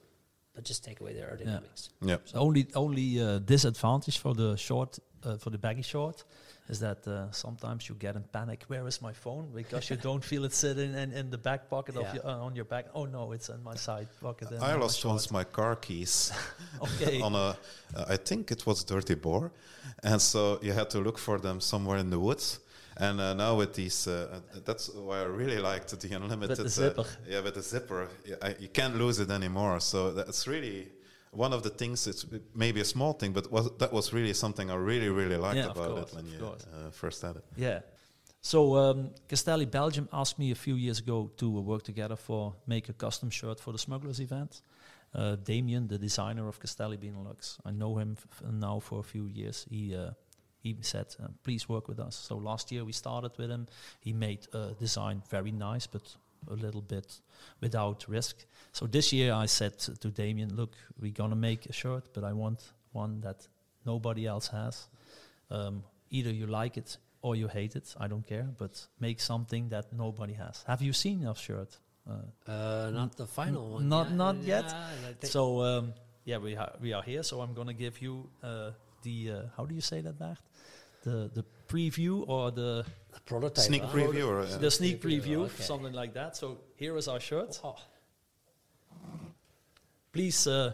Speaker 3: but just take away the aerodynamics.
Speaker 2: yeah
Speaker 1: The only only uh, disadvantage for the short uh, for the baggy short is that uh, sometimes you get in panic. Where is my phone? Because you don't feel it sitting in, in the back pocket of
Speaker 3: Yeah.
Speaker 1: your, uh, on your back. Oh no, it's in my side pocket. and
Speaker 2: I
Speaker 1: in my
Speaker 2: lost
Speaker 1: short.
Speaker 2: once my car keys
Speaker 1: Okay.
Speaker 2: on a, uh, I think it was Dirty Boar. And so you had to look for them somewhere in the woods. And uh, now with these, uh, uh, that's why I really liked the unlimited. uh,
Speaker 1: zipper.
Speaker 2: yeah, with the zipper, yeah, I, you can't lose it anymore. So that's really one of the things. It's maybe a small thing, but was, that was really something I really, really liked
Speaker 1: Yeah, of
Speaker 2: about
Speaker 1: course,
Speaker 2: it when
Speaker 1: of
Speaker 2: you
Speaker 1: course.
Speaker 2: uh, first had it.
Speaker 1: Yeah. So um, Castelli Belgium asked me a few years ago to uh, work together for make a custom shirt for the Smugglers event. Uh, Damien, the designer of Castelli Benelux, I know him f- f- now for a few years. He uh, he said, uh, "Please work with us." So last year we started with him. He made a design very nice, but a little bit without risk. So this year I said to Damien, "Look, we're gonna make a shirt, but I want one that nobody else has. Um, either you like it or you hate it. I don't care, but make something that nobody has. Have you seen our shirt? Uh,
Speaker 3: Uh, not the final one.
Speaker 1: not-
Speaker 3: yeah.
Speaker 1: not yet.
Speaker 3: Yeah, I think-
Speaker 1: so um, yeah, we ha- we are here. So I'm gonna give you uh, the uh, how do you say that, Bart? The the preview or the
Speaker 3: the prototype.
Speaker 2: Sneak
Speaker 3: huh?
Speaker 2: preview, or, uh,
Speaker 1: the sneak
Speaker 3: Preview,
Speaker 1: preview,
Speaker 3: okay.
Speaker 1: something like that. So here is our shirt.
Speaker 3: Oh,
Speaker 1: Please uh,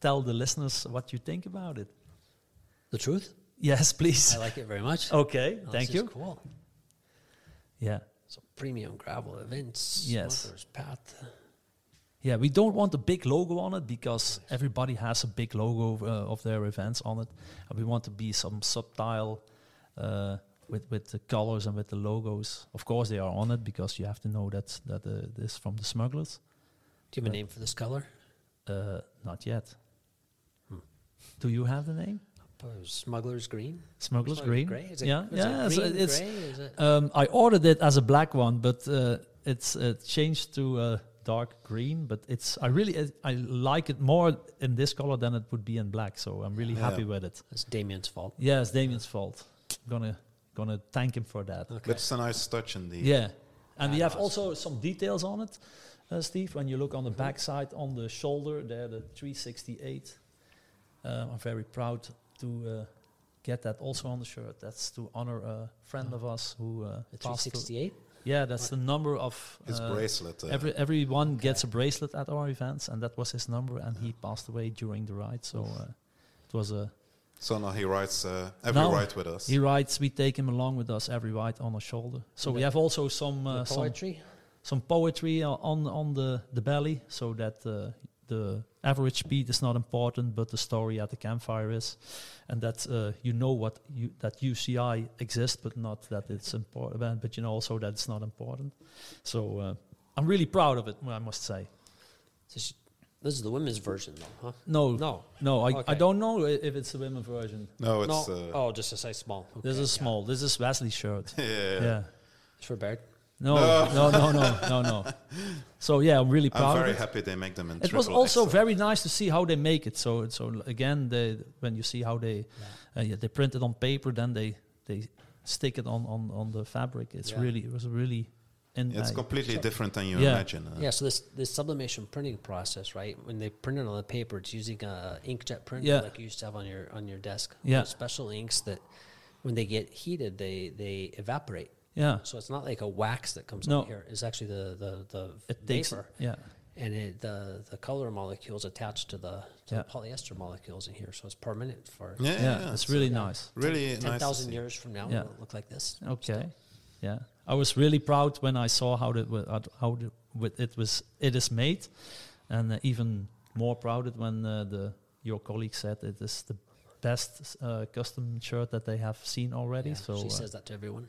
Speaker 1: tell the listeners what you think about it.
Speaker 3: the truth.
Speaker 1: Yes, please.
Speaker 3: I like it very much.
Speaker 1: Okay,
Speaker 3: Oh, this
Speaker 1: thank
Speaker 3: is
Speaker 1: you.
Speaker 3: Cool.
Speaker 1: Yeah.
Speaker 3: So premium gravel events.
Speaker 1: Yes.
Speaker 3: Smuggler's Path.
Speaker 1: Yeah, we don't want a big logo on it because everybody has a big logo uh, of their events on it, and we want to be some subtle uh, with with the colors and with the logos. Of course, they are on it because you have to know that that uh, this from the smugglers.
Speaker 3: Do you have a name for this color? Hmm.
Speaker 1: Uh, not yet. Do you have the name?
Speaker 3: What was it, Smuggler's Green.
Speaker 1: Smuggler's Green.
Speaker 3: Grey? Is it,
Speaker 1: yeah,
Speaker 3: is
Speaker 1: yeah.
Speaker 3: It
Speaker 1: so
Speaker 3: green,
Speaker 1: it's
Speaker 3: gray? Is it?
Speaker 1: um, I ordered it as a black one, but uh, it's uh, changed to uh, dark green. But it's I really it, I like it more in this color than it would be in black. So I'm really
Speaker 2: Yeah.
Speaker 1: happy with it.
Speaker 3: That's Damien's fault.
Speaker 1: Yeah, it's Damien's fault. Gonna gonna thank him for that.
Speaker 3: Okay.
Speaker 2: But it's a nice touch indeed.
Speaker 1: Yeah, and
Speaker 3: Ah,
Speaker 1: we have
Speaker 3: nice.
Speaker 1: also some details on it, uh, Steve. When you look on the backside, on the shoulder, there the 368. Um, I'm very proud to uh, get that also on the shirt. That's to honor a friend of us who uh,
Speaker 3: The
Speaker 1: passed a-
Speaker 3: 368.
Speaker 1: yeah, that's the number of
Speaker 2: His
Speaker 1: uh,
Speaker 2: bracelet. Uh,
Speaker 1: Every everyone gets a
Speaker 3: Okay.
Speaker 1: bracelet at our events, and that was his number. And he passed away during the ride, so uh, it was a.
Speaker 2: so now he rides uh, every
Speaker 1: Now
Speaker 2: ride with us.
Speaker 1: He rides. We take him along with us every ride on our shoulder. So we
Speaker 3: Yeah.
Speaker 1: have also some
Speaker 3: The
Speaker 1: uh, some
Speaker 3: poetry.
Speaker 1: some poetry o- on on the the belly, so that uh, the average speed is not important, but the story at the campfire is, and that uh, you know what you, that UCI exists, but not that it's important. But you know also that it's not important. So uh, I'm really proud of it. I must say.
Speaker 3: This, this is the women's version, though, huh?
Speaker 1: No, no,
Speaker 3: No.
Speaker 1: I, I
Speaker 3: Okay.
Speaker 1: don't know i- if it's the women version.
Speaker 2: no,
Speaker 3: no.
Speaker 2: it's uh,
Speaker 3: oh, just a size small. Okay,
Speaker 1: This is
Speaker 3: yeah.
Speaker 1: small. This is Wesley's shirt.
Speaker 2: yeah.
Speaker 1: Yeah.
Speaker 3: It's for Bert.
Speaker 1: No, no, no, no, no, no. So yeah, I'm really proud.
Speaker 2: I'm
Speaker 1: of
Speaker 2: very
Speaker 1: it.
Speaker 2: happy they make them in
Speaker 1: Oh, It was
Speaker 2: triple
Speaker 1: also
Speaker 2: XL.
Speaker 1: very nice to see how they make it. So so again, they, when you see how they uh, yeah, they print it on paper, then they they stick it on on, on the fabric. It's
Speaker 3: Yeah.
Speaker 1: really it was really in
Speaker 2: It's
Speaker 1: I-
Speaker 2: completely different than you
Speaker 1: Yeah.
Speaker 2: imagine. uh,
Speaker 3: Yeah. So this this sublimation printing process, right? When they print it on the paper, it's using a inkjet printer
Speaker 1: Yeah.
Speaker 3: like you used to have on your on your desk.
Speaker 1: Yeah.
Speaker 3: Those special inks that when they get heated, they they evaporate.
Speaker 1: yeah.
Speaker 3: So it's not like a wax that comes
Speaker 1: No.
Speaker 3: up here. It's actually the the the
Speaker 1: It takes
Speaker 3: vapor,
Speaker 1: yeah
Speaker 3: and it, the the color molecules attached to the, to
Speaker 1: Yeah.
Speaker 3: the polyester molecules in here. So it's permanent for
Speaker 2: Yeah,
Speaker 1: yeah.
Speaker 2: yeah,
Speaker 1: it's
Speaker 2: it's
Speaker 1: really
Speaker 3: yeah.
Speaker 1: nice.
Speaker 2: really nice.
Speaker 3: ten
Speaker 2: to
Speaker 3: thousand
Speaker 2: see.
Speaker 3: years from now.
Speaker 1: Yeah.
Speaker 3: It'll look like this.
Speaker 1: Okay, yeah. I was really proud when I saw how that wa- at- how the, with it was it is made, and uh, even more proud it when uh, the your colleague said it is the best uh, custom shirt that they have seen already.
Speaker 3: Yeah,
Speaker 1: so
Speaker 3: she
Speaker 1: uh,
Speaker 3: says that to everyone.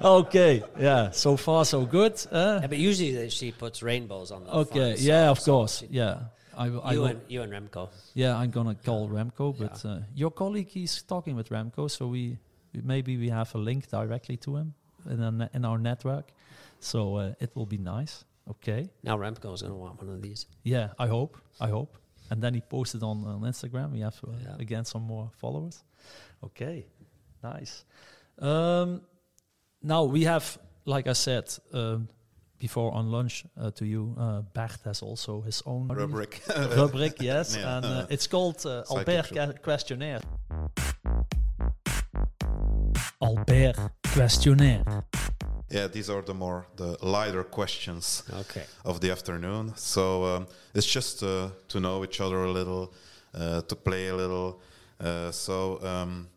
Speaker 1: okay, yeah. So far, so good. Uh,
Speaker 3: Yeah, but usually they- she puts rainbows on the.
Speaker 1: okay,
Speaker 3: front, so-
Speaker 1: yeah, of
Speaker 3: so
Speaker 1: course,
Speaker 3: she-
Speaker 1: yeah. I, w- I
Speaker 3: you
Speaker 1: will-
Speaker 3: and you and Remco.
Speaker 1: yeah, I'm gonna call Remco, but uh, your colleague is talking with Remco, so we maybe we have a link directly to him in our, ne- in our network. So uh, it will be nice. Okay,
Speaker 3: Now Remco is going to want one of these.
Speaker 1: yeah, I hope, I hope. And then he posted on on Instagram. We have uh,
Speaker 3: Yeah.
Speaker 1: again some more followers. Okay, nice. Um, now we have, like I said um, before on lunch uh, to you, uh, Bert has also his own
Speaker 2: Rubric.
Speaker 1: rubric, yes,
Speaker 2: Yeah.
Speaker 1: and uh, it's called uh,
Speaker 2: Psychic
Speaker 1: Albert
Speaker 2: show.
Speaker 1: Ca- Questionnaire. Albert Questionnaire.
Speaker 2: yeah, these are the more the lighter questions
Speaker 3: Okay.
Speaker 2: of the afternoon. So um, it's just uh, to know each other a little, uh, to play a little. Uh, so um,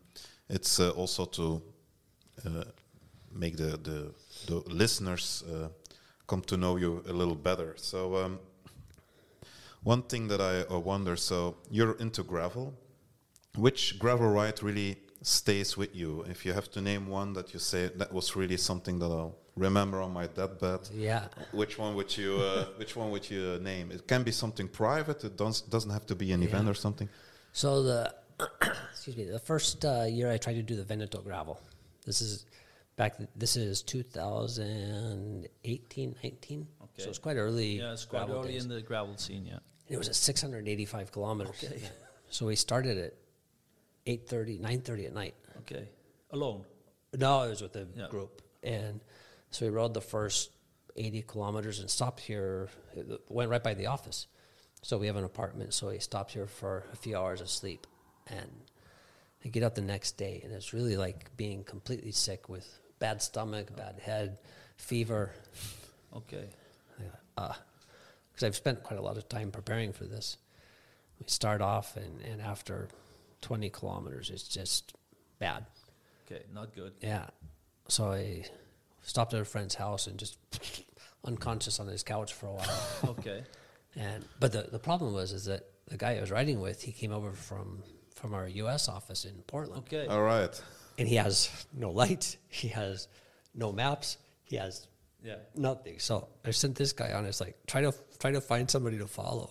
Speaker 2: it's uh, also to uh, make the, the, the listeners uh, come to know you a little better. So um, one thing that I uh, wonder, so you're into gravel. Which gravel ride really stays with you? If you have to name one that you say that was really something that I'll remember on my deathbed,
Speaker 3: Yeah.
Speaker 2: which one would you? Uh, which one would you uh, name? It can be something private. It does, doesn't have to be an event
Speaker 3: Yeah.
Speaker 2: or something.
Speaker 3: So the excuse me, the first uh, year I tried to do the Veneto gravel. This is back. th- This is 2018, 19.
Speaker 1: Okay.
Speaker 3: So it's quite early.
Speaker 1: Yeah, it's quite
Speaker 3: gravel
Speaker 1: early
Speaker 3: days.
Speaker 1: in the gravel scene. Yeah,
Speaker 3: It was at 685 kilometers. So we started at 8:30, 9:30 at night.
Speaker 1: okay, alone.
Speaker 3: No, it was with the
Speaker 1: Yeah.
Speaker 3: group, and so we rode the first eighty kilometers and stopped here. It went right by the office, so we have an apartment. So we stopped here for a few hours of sleep, and I get up the next day, and it's really like being completely sick with bad stomach, bad head, fever,
Speaker 1: Okay,
Speaker 3: because I've spent quite a lot of time preparing for this. We start off, and, and after twenty kilometers, it's just bad.
Speaker 1: okay, not good.
Speaker 3: Yeah. So I stopped at a friend's house and just unconscious on his couch for a while.
Speaker 1: Okay,
Speaker 3: and but the, the problem was is that the guy I was riding with, he came over from from our US office in Portland.
Speaker 1: okay.
Speaker 2: All right.
Speaker 3: And he has no light, he has no maps, he has
Speaker 1: Yeah.
Speaker 3: nothing. So I sent this guy on. It's like try to try to find somebody to follow,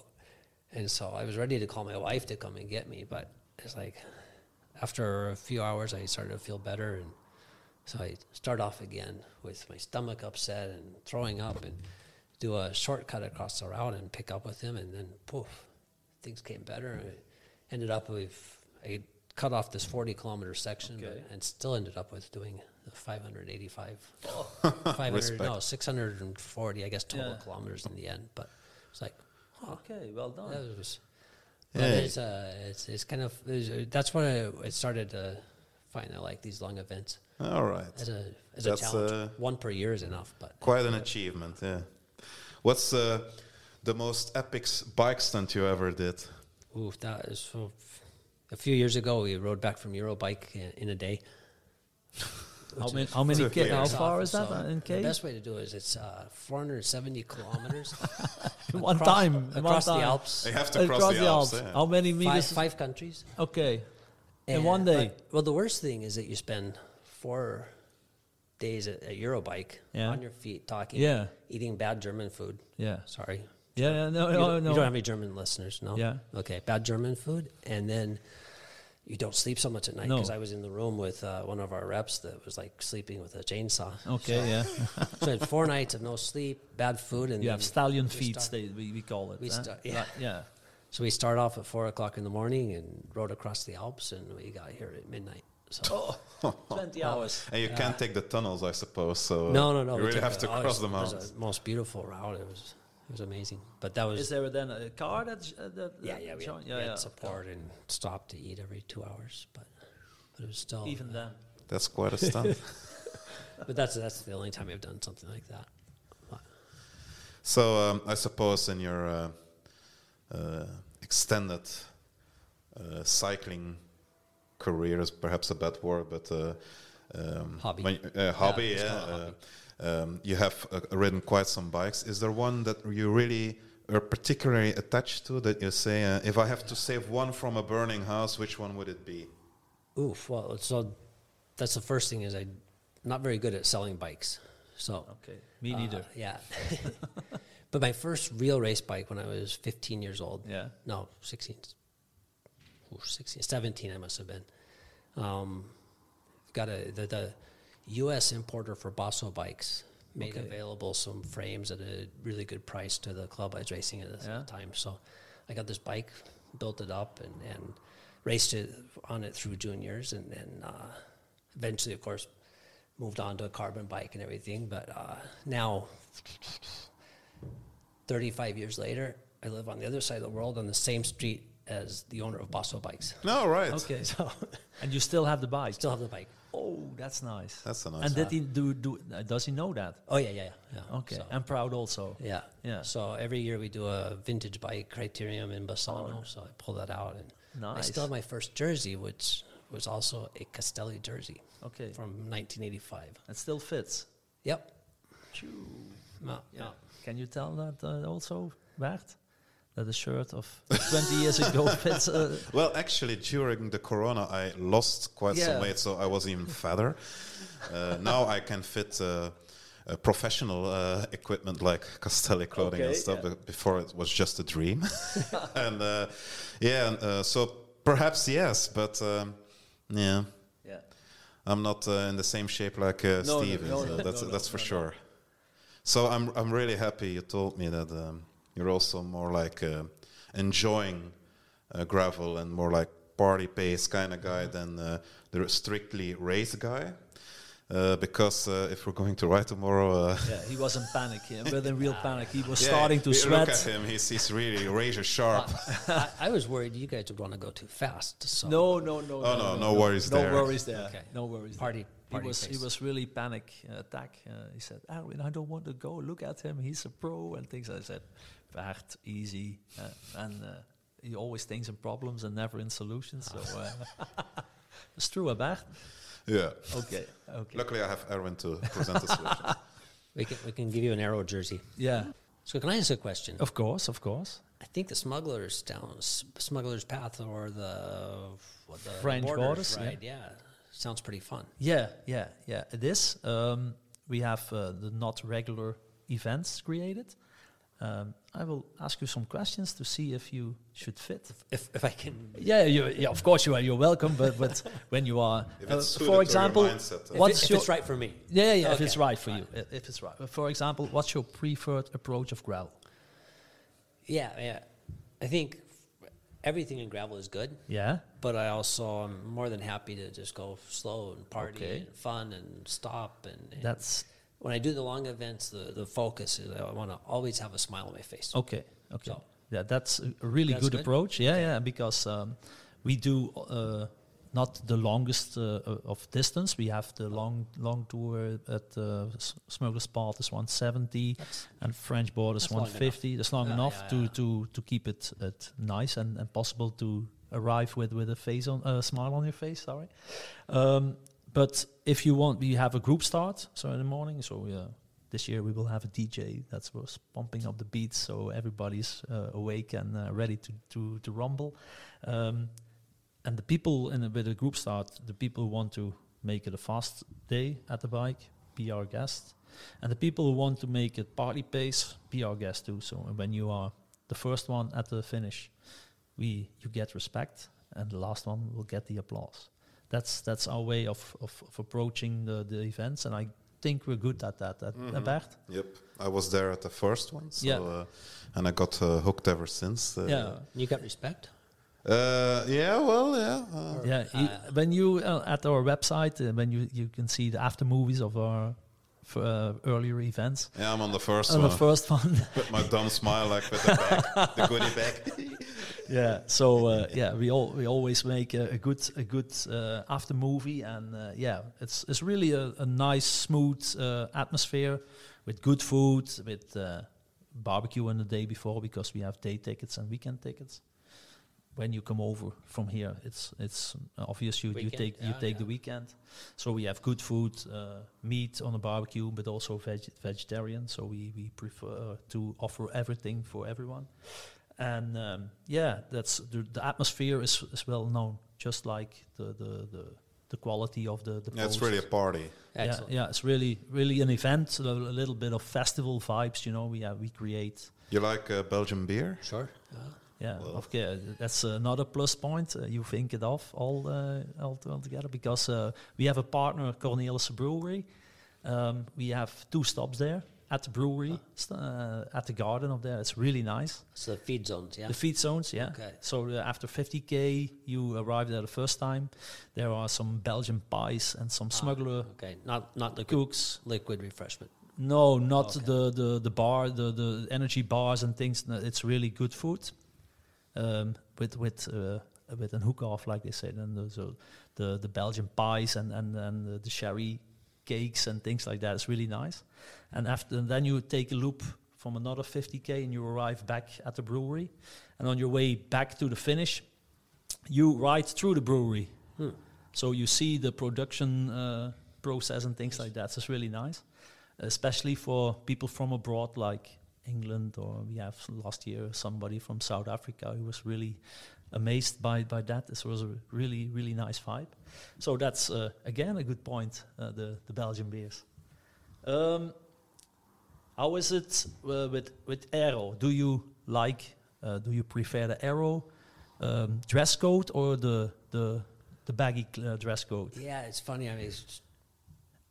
Speaker 3: And so I was ready to call my wife to come and get me, but it's like after a few hours, I started to feel better. And so I start off again with my stomach upset and throwing up and do a shortcut across the route and pick up with him. And then poof, things came better. And I ended up with, I cut off this 40 kilometer section
Speaker 1: Okay.
Speaker 3: but, and still ended up with doing the 585, 500, no,
Speaker 2: Respect.
Speaker 3: 640, I guess, total
Speaker 1: Yeah.
Speaker 3: kilometers in the end. But it's like, huh,
Speaker 1: Okay, well done.
Speaker 3: that was. But
Speaker 2: Yeah.
Speaker 3: it's, uh, it's, it's kind of it's, uh, that's when I, I started to find I like these long events
Speaker 2: All right.
Speaker 3: as a as
Speaker 2: That's,
Speaker 3: a challenge.
Speaker 2: uh,
Speaker 3: One per year is enough, but
Speaker 2: Quite an achievement, yeah. What's uh, the most epic s- bike stunt you ever did?
Speaker 3: ooh, that is so. A few years ago, we rode back from Eurobike in, in a day.
Speaker 1: How many, how many
Speaker 2: Two
Speaker 1: ki- how
Speaker 2: years
Speaker 1: far is
Speaker 3: So
Speaker 1: that uh, in
Speaker 3: The
Speaker 1: K?
Speaker 3: best way to do it is it's uh, 470 kilometers
Speaker 1: One
Speaker 3: across-
Speaker 1: time, in one
Speaker 3: across the
Speaker 1: time.
Speaker 3: Alps,
Speaker 2: You have to cross, the, Alps. yeah.
Speaker 1: How many
Speaker 3: five,
Speaker 1: meters?
Speaker 3: five countries.
Speaker 1: Okay. In
Speaker 3: And-
Speaker 1: one day.
Speaker 3: but- well, the worst thing is that you spend four days at, at Eurobike
Speaker 1: Yeah.
Speaker 3: on your feet talking,
Speaker 1: Yeah.
Speaker 3: eating bad German food.
Speaker 1: Yeah.
Speaker 3: Sorry.
Speaker 1: Yeah, yeah, no,
Speaker 3: You,
Speaker 1: no,
Speaker 3: don't,
Speaker 1: no.
Speaker 3: you don't have any German listeners, no?
Speaker 1: Yeah.
Speaker 3: Okay, bad German food. And then you don't sleep so much at night
Speaker 1: No.
Speaker 3: because I was in the room with uh, one of our reps that was like sleeping with a chainsaw.
Speaker 1: okay, yeah.
Speaker 3: so I had four nights of no sleep, bad food. and
Speaker 1: You have
Speaker 3: then-
Speaker 1: stallion
Speaker 3: we
Speaker 1: feet,
Speaker 3: start-
Speaker 1: they, we, we call it.
Speaker 3: we
Speaker 1: huh?
Speaker 3: start- yeah.
Speaker 1: Like, yeah.
Speaker 3: So we start off at four o'clock in the morning and rode across the Alps and we got here at midnight. So
Speaker 1: Oh. 20 hours.
Speaker 2: And you can't take the tunnels, I suppose. So
Speaker 3: Uh, No, no, no.
Speaker 2: You
Speaker 3: we
Speaker 2: really
Speaker 3: took
Speaker 2: have
Speaker 3: the-
Speaker 2: to
Speaker 3: oh, it
Speaker 2: cross the
Speaker 3: was-
Speaker 2: mountains.
Speaker 3: It was the most beautiful route. It was it was amazing. But that was
Speaker 1: Is there then a car that? Uh, that
Speaker 3: yeah, yeah. We
Speaker 1: join-
Speaker 3: had, we had support and stopped to eat every two hours, but but it was still
Speaker 1: Even then.
Speaker 2: That's quite a stunt.
Speaker 3: But that's that's the only time I've done something like that. But
Speaker 2: So um, I suppose in your uh, uh, extended uh, cycling career is perhaps a bad word, but uh, um,
Speaker 3: Hobby.
Speaker 2: when- uh, hobby, yeah.
Speaker 3: let's call it
Speaker 2: uh,
Speaker 3: hobby.
Speaker 2: Um, you have uh, ridden quite some bikes. Is there one that you really are particularly attached to that you say, uh, if I have to save one from a burning house, which one would it be?
Speaker 3: oof. Well, so that's the first thing is I'm not very good at selling bikes. So
Speaker 1: Okay. Oh, Me
Speaker 3: uh,
Speaker 1: neither.
Speaker 3: yeah. but my first real race bike when I was 15 years old.
Speaker 1: Yeah.
Speaker 3: no 16 Ooh, 16 17 i must have been um, got a the, the us importer for basso bikes made
Speaker 1: Okay.
Speaker 3: available some frames at a really good price to the club i was racing at the
Speaker 1: Yeah.
Speaker 3: time so i got this bike built it up and, and raced it on it through juniors and then uh, eventually of course moved on to a carbon bike and everything but uh, now 35 years later, I live on the other side of the world on the same street as the owner of Basso Bikes.
Speaker 2: No, right.
Speaker 1: Okay.
Speaker 3: So
Speaker 1: And you still have the bike.
Speaker 3: still have the bike.
Speaker 1: Oh, that's nice.
Speaker 2: That's a nice
Speaker 1: And did
Speaker 3: one.
Speaker 1: he do? do uh, does he know that?
Speaker 3: Oh, yeah, yeah, yeah. yeah.
Speaker 1: Okay.
Speaker 3: So,
Speaker 1: I'm proud also.
Speaker 3: yeah.
Speaker 1: Yeah.
Speaker 3: So every year we do a vintage bike criterium in Bassano. So I pull that out. and I
Speaker 1: Oh. Nice.
Speaker 3: still have my first jersey, which was also a Castelli jersey
Speaker 1: Okay.
Speaker 3: from 1985.
Speaker 1: It still fits.
Speaker 3: Yep.
Speaker 1: Phew.
Speaker 3: No, no.
Speaker 1: Can you tell that uh, also, Bert? That a shirt of 20 years ago fits. Uh,
Speaker 2: Well, actually, during the corona, I lost quite
Speaker 1: Yeah.
Speaker 2: some weight, so I was even fatter. Uh, now I can fit uh, uh, professional uh, equipment like Castelli clothing and
Speaker 1: Okay,
Speaker 2: stuff.
Speaker 1: yeah.
Speaker 2: But before it was just a dream, and uh, yeah, and, uh, so perhaps yes, but um, yeah,
Speaker 1: yeah.
Speaker 2: I'm not uh, in the same shape like uh,
Speaker 1: no,
Speaker 2: Steven.
Speaker 1: no,
Speaker 2: so
Speaker 1: no,
Speaker 2: that's
Speaker 1: no, no,
Speaker 2: that's for
Speaker 1: no, no.
Speaker 2: sure. So I'm I'm really happy you told me that um, you're also more like uh, enjoying uh, gravel and more like party pace kind of guy
Speaker 1: Mm-hmm.
Speaker 2: than uh, the strictly race guy. Uh, because uh, if we're going to ride tomorrow, uh,
Speaker 1: Yeah, he was in panic, yeah, but in real panic. He was
Speaker 2: yeah,
Speaker 1: starting to
Speaker 2: we Look at
Speaker 1: sweat.
Speaker 2: him; he's, he's really razor sharp.
Speaker 3: I, I was worried you guys would want to go too fast. So
Speaker 1: No, no, no.
Speaker 2: Oh, no, no worries
Speaker 1: no
Speaker 2: there.
Speaker 1: worries there.
Speaker 3: Okay.
Speaker 1: No worries. there.
Speaker 3: Party- party
Speaker 1: he was he
Speaker 3: face.
Speaker 1: was really panic uh, attack. Uh, he said, "Erwin, I don't want to go. Look at him. He's a pro and things." I said, "Bert, easy." Uh, and uh, he always thinks in problems and never in solutions. So uh, it's true, uh, Bert.
Speaker 2: yeah.
Speaker 1: Okay, okay.
Speaker 2: Luckily, I have Erwin to present the solution.
Speaker 3: we can, we can give you an arrow jersey.
Speaker 1: Yeah,
Speaker 3: So can I ask a question?
Speaker 1: of course, of course.
Speaker 3: I think the smugglers down S- smugglers path or the, what, the
Speaker 1: French borders, yeah.
Speaker 3: right? Yeah. sounds pretty fun.
Speaker 1: Yeah, yeah, yeah. It is. Um, we have uh, the not regular events created, Um, I will ask you some questions to see if you should fit.
Speaker 3: If, if I can,
Speaker 1: Yeah, you, yeah, of course you are. You're welcome, but but when you are,
Speaker 2: If
Speaker 1: uh,
Speaker 2: it's suited to
Speaker 1: for
Speaker 2: your
Speaker 1: example,
Speaker 2: mindset, uh,
Speaker 3: if,
Speaker 1: what's
Speaker 3: it, if
Speaker 1: your
Speaker 3: it's right for me.
Speaker 1: yeah yeah if it's
Speaker 3: Okay.
Speaker 1: right for you i- if it's right. For example, what's your preferred approach of gravel?
Speaker 3: Yeah, yeah. I think everything in gravel is good,
Speaker 1: Yeah,
Speaker 3: but I also am more than happy to just go slow and party
Speaker 1: Okay.
Speaker 3: and fun and stop. And, and
Speaker 1: that's
Speaker 3: when I do the long events, the, the focus is I want to always have a smile on my face.
Speaker 1: Okay. Okay.
Speaker 3: So-
Speaker 1: Yeah, that's a really
Speaker 3: That's
Speaker 1: good,
Speaker 3: good?
Speaker 1: approach. Yeah, yeah, because um, we do uh, not the longest uh, o- of distance. We have the long long tour at uh, S- Smuggler's Path is 170 and French Border is
Speaker 3: That's long enough.
Speaker 1: 150. That's long
Speaker 3: Yeah,
Speaker 1: enough
Speaker 3: yeah,
Speaker 1: to,
Speaker 3: yeah.
Speaker 1: to to keep it, it nice and, and possible to arrive with with a face on a smile on your face. Sorry. Um, but if you want, we have a group start. So in the morning, so yeah, this year we will have a DJ that's was pumping up the beats, so everybody's uh, awake and uh, ready to to to rumble. Um, and the people in a, with a group start, the people who want to make it a fast day at the bike, be our guest, and the people who want to make it party pace, be our guest too. So when you are the first one at the finish, we you get respect, and the last one will get the applause. That's that's our way of of, of approaching the the events, and I think we're good at that. At
Speaker 2: Mhm.
Speaker 1: Bert,
Speaker 2: Yep, I was there at the first one, so,
Speaker 1: Yeah.
Speaker 2: uh, and I got uh, hooked ever since. Uh,
Speaker 1: yeah.
Speaker 3: You got respect?
Speaker 2: Uh, yeah, well, yeah. Uh,
Speaker 1: Yeah, you-
Speaker 3: Uh,
Speaker 1: when you uh, at our website, uh, when you you can see the after movies of our f- uh, earlier events.
Speaker 2: yeah, I'm on the first
Speaker 1: On
Speaker 2: one.
Speaker 1: the first one,
Speaker 2: With my dumb smile, like with the bag, the goodie bag.
Speaker 1: yeah. So uh, yeah, we all we always make a, a good a good uh, after movie, and uh, yeah, it's it's really a, a nice smooth uh, atmosphere with good food, with uh, barbecue on the day before because we have day tickets and weekend tickets. When you come over from here, it's it's obvious you, you
Speaker 3: Weekend,
Speaker 1: take you
Speaker 3: yeah,
Speaker 1: take the
Speaker 3: yeah.
Speaker 1: weekend, so we have good food, uh, meat on the barbecue, but also veg- vegetarian. So we we prefer to offer everything for everyone and um, yeah, that's the, the atmosphere is, is well known, just like the the, the, the quality of the the.
Speaker 2: yeah, it's
Speaker 1: post.
Speaker 2: really a party.
Speaker 1: yeah,
Speaker 3: Excellent.
Speaker 1: yeah, it's really really an event, so a little bit of festival vibes. You know, we uh, we create.
Speaker 2: You like uh, Belgian beer?
Speaker 3: Sure. Uh, Yeah.
Speaker 1: Yeah,
Speaker 2: Well.
Speaker 1: okay, that's another plus point. Uh, you think it off all uh, all, all together because uh, we have a partner, Cornelis Brewery. Um, we have two stops there at the brewery,
Speaker 2: Ah.
Speaker 1: st- uh, at the garden up there. It's really nice.
Speaker 3: So the feed zones, yeah.
Speaker 1: The feed zones, yeah.
Speaker 3: Okay.
Speaker 1: So uh, after 50k, you arrive there the first time. There are some Belgian pies and some
Speaker 3: Ah.
Speaker 1: smuggler
Speaker 3: okay. Not not liquid,
Speaker 1: cooks.
Speaker 3: liquid refreshment.
Speaker 1: No, not
Speaker 3: Okay.
Speaker 1: the, the the bar, the the energy bars and things. No, it's really good food, um, with with uh, with an hook off, like they said, and the, so the the Belgian pies and and and the, the sherry cakes and things like that. It's really nice. And after and then you take a loop from another 50k and you arrive back at the brewery, and on your way back to the finish, you ride through the brewery.
Speaker 3: Hmm.
Speaker 1: So you see the production uh, process and things like that. So it's really nice, especially for people from abroad, like England, or we have last year somebody from South Africa who was really amazed by by that. This was a really really nice vibe. So that's uh, again a good point. Uh, the the Belgian beers. Um, how is it uh, with with arrow? Do you like? Uh, do you prefer the arrow um, dress code or the the the baggy cl- uh, dress code
Speaker 3: Yeah, it's funny. I mean, it's,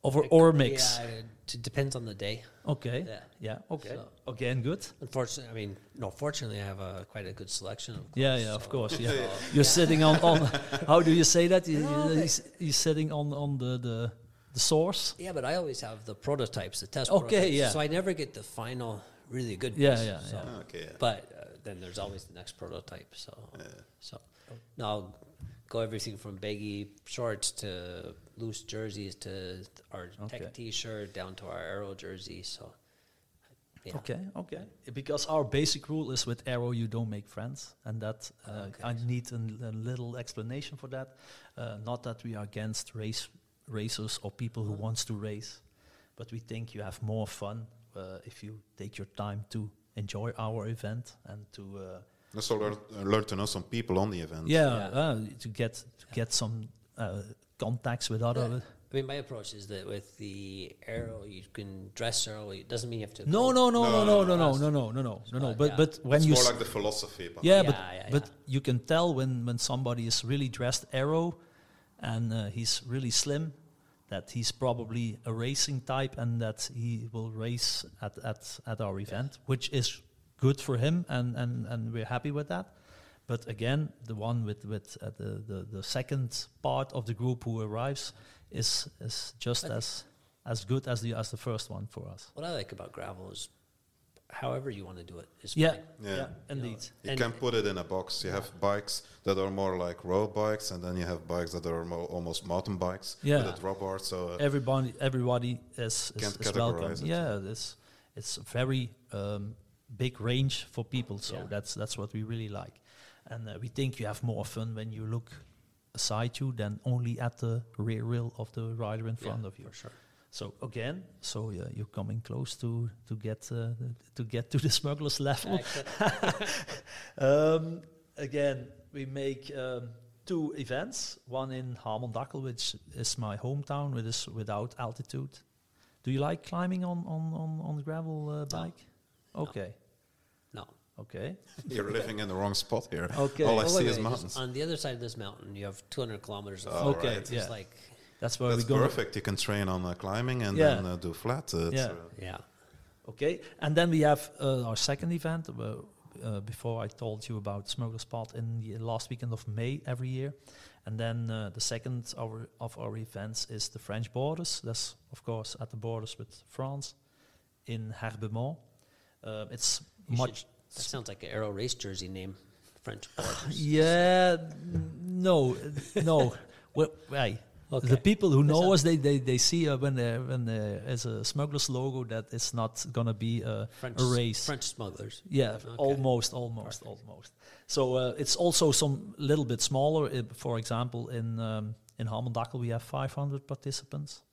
Speaker 1: or or mix?
Speaker 3: Yeah, it depends on the day.
Speaker 1: Okay.
Speaker 3: Yeah.
Speaker 1: Yeah. Okay.
Speaker 3: So-
Speaker 1: Again, good.
Speaker 3: Unfortunately, I mean, no. Fortunately, I have a quite a good selection. Of
Speaker 1: Yeah,
Speaker 3: clothes,
Speaker 1: yeah,
Speaker 3: so-
Speaker 1: of course. Yeah,
Speaker 3: so-
Speaker 1: you're sitting on, on. How do you say that? You,
Speaker 3: No,
Speaker 1: you,
Speaker 3: they-
Speaker 1: he's, he's sitting on on the the, the source.
Speaker 3: Yeah, but I always have the prototypes, the test.
Speaker 1: Okay,
Speaker 3: prototypes,
Speaker 1: yeah.
Speaker 3: So I never get the final really good.
Speaker 1: Yeah,
Speaker 3: piece,
Speaker 1: yeah,
Speaker 3: so-
Speaker 1: yeah.
Speaker 2: Ah, Okay. yeah.
Speaker 3: But uh, then there's always the next prototype. So, so now I'll go everything from baggy shorts to loose jerseys to our
Speaker 1: Okay.
Speaker 3: tech T-shirt down to our arrow jersey. So, yeah.
Speaker 1: Okay, okay. Because our basic rule is with arrow you don't make friends, and that uh,
Speaker 3: Okay.
Speaker 1: I need an- a, little explanation for that. Uh, not that we are against race racers or people who wants to race, but we think you have more fun uh, if you take your time to enjoy our event and to uh,
Speaker 2: Also learn, uh, learn to know some people on the event.
Speaker 1: yeah,
Speaker 3: Yeah.
Speaker 1: Uh, to get to get some uh, contacts with other
Speaker 3: I mean, my approach is that with the arrow, you can dress arrow. It doesn't mean you have to.
Speaker 1: No, no,
Speaker 3: go-
Speaker 1: no, no, no, no, no,
Speaker 3: fast.
Speaker 1: no, no, no, no, no, no.
Speaker 3: Spot,
Speaker 1: But
Speaker 3: yeah.
Speaker 1: but when
Speaker 2: it's
Speaker 1: you
Speaker 2: more
Speaker 1: s-
Speaker 2: like the philosophy. But
Speaker 1: yeah,
Speaker 3: Yeah,
Speaker 1: but
Speaker 3: yeah,
Speaker 1: but
Speaker 3: yeah.
Speaker 1: you can tell when when somebody is really dressed arrow, and uh, he's really slim, that he's probably a racing type, and that he will race at at at our event, which is good for him, and and and we're happy with that. But again, the one with with uh, the, the the second part of the group who arrives is is just
Speaker 3: I thi-
Speaker 1: as as good as the as the first one for us.
Speaker 3: What I like about gravel is, however you want to do it is
Speaker 1: Yeah,
Speaker 3: fine.
Speaker 2: Yeah.
Speaker 1: yeah,
Speaker 3: You know,
Speaker 1: indeed.
Speaker 2: You
Speaker 3: and-
Speaker 2: can put it in a box. You have bikes that are more like road bikes, and then you have bikes that are mo- almost mountain bikes
Speaker 1: Yeah.
Speaker 2: with a drop bar. So uh,
Speaker 1: everybody everybody is, is,
Speaker 2: Can't
Speaker 1: is welcome.
Speaker 2: categorize it.
Speaker 1: Yeah, it's it's a very um, big range for people. So
Speaker 3: Yeah.
Speaker 1: that's that's what we really like, and uh, we think you have more fun when you look aside you than only at the rear wheel of the rider in front
Speaker 3: yeah,
Speaker 1: of you.
Speaker 3: for sure.
Speaker 1: So again, so yeah, you're coming close to to get uh, the- to get to the smuggler's level. um, again, we make um, two events. One in Harmondakkel, which is my hometown, which is without altitude. Do you like climbing on on on, on gravel uh, bike? Okay,
Speaker 3: No.
Speaker 1: okay,
Speaker 2: you're living in the wrong spot here.
Speaker 1: Okay.
Speaker 2: All
Speaker 1: Oh,
Speaker 2: I
Speaker 3: wait,
Speaker 2: see
Speaker 3: wait,
Speaker 2: is
Speaker 3: just
Speaker 2: mountains.
Speaker 3: On the other side of this mountain, you have 200 kilometers of
Speaker 2: Oh,
Speaker 3: flat.
Speaker 1: okay.
Speaker 2: right.
Speaker 3: It's
Speaker 1: Yeah,
Speaker 3: like,
Speaker 1: that's where
Speaker 2: That's
Speaker 1: we go.
Speaker 2: perfect. You can train on uh, climbing and
Speaker 1: Yeah.
Speaker 2: then uh, do flat. Uh, it's,
Speaker 1: Yeah.
Speaker 2: uh,
Speaker 3: yeah.
Speaker 1: Okay, and then we have uh, our second event. Uh, uh, before I told you about Smuggler's Spot in the last weekend of May every year, and then uh, the second our, of our events is the French Borders. That's of course at the borders with France, in Herbemont. Uh, it's
Speaker 3: You
Speaker 1: much.
Speaker 3: should- that sounds like an aero race jersey name, French borders.
Speaker 1: Yeah, n- no, uh, no. Well, right. The people who know us, they, they, they see uh, when there when there is a smuggler's logo that it's not gonna be uh,
Speaker 3: French,
Speaker 1: a race.
Speaker 3: French smugglers.
Speaker 1: Yeah,
Speaker 3: Okay.
Speaker 1: almost, almost, almost. So uh, it's also some little bit smaller. Uh, for example, in um, in Hamendakkel we have 500 participants,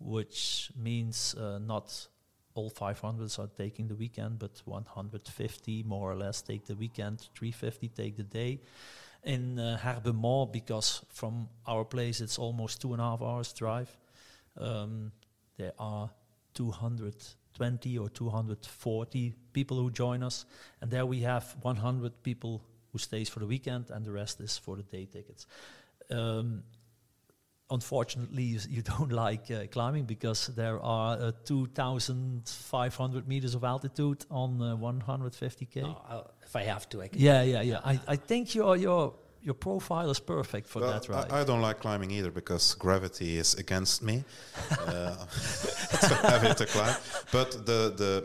Speaker 1: which means uh, not all 500s are taking the weekend, but 150 more or less take the weekend, 350 take the day. In uh, Herbemont, because from our place it's almost two and a half hours drive, um, there are 220 or 240 people who join us and there we have 100 people who stays for the weekend and the rest is for the day tickets um, unfortunately you s- you don't like uh, climbing because there are uh, 2500 meters of altitude on uh, 150k
Speaker 3: No, I'll, if I have to, I can.
Speaker 1: yeah yeah yeah I, I think your your your profile is perfect for
Speaker 2: well,
Speaker 1: that right
Speaker 2: I, I don't like climbing either because gravity is against me. uh, it's so heavy to climb. But the the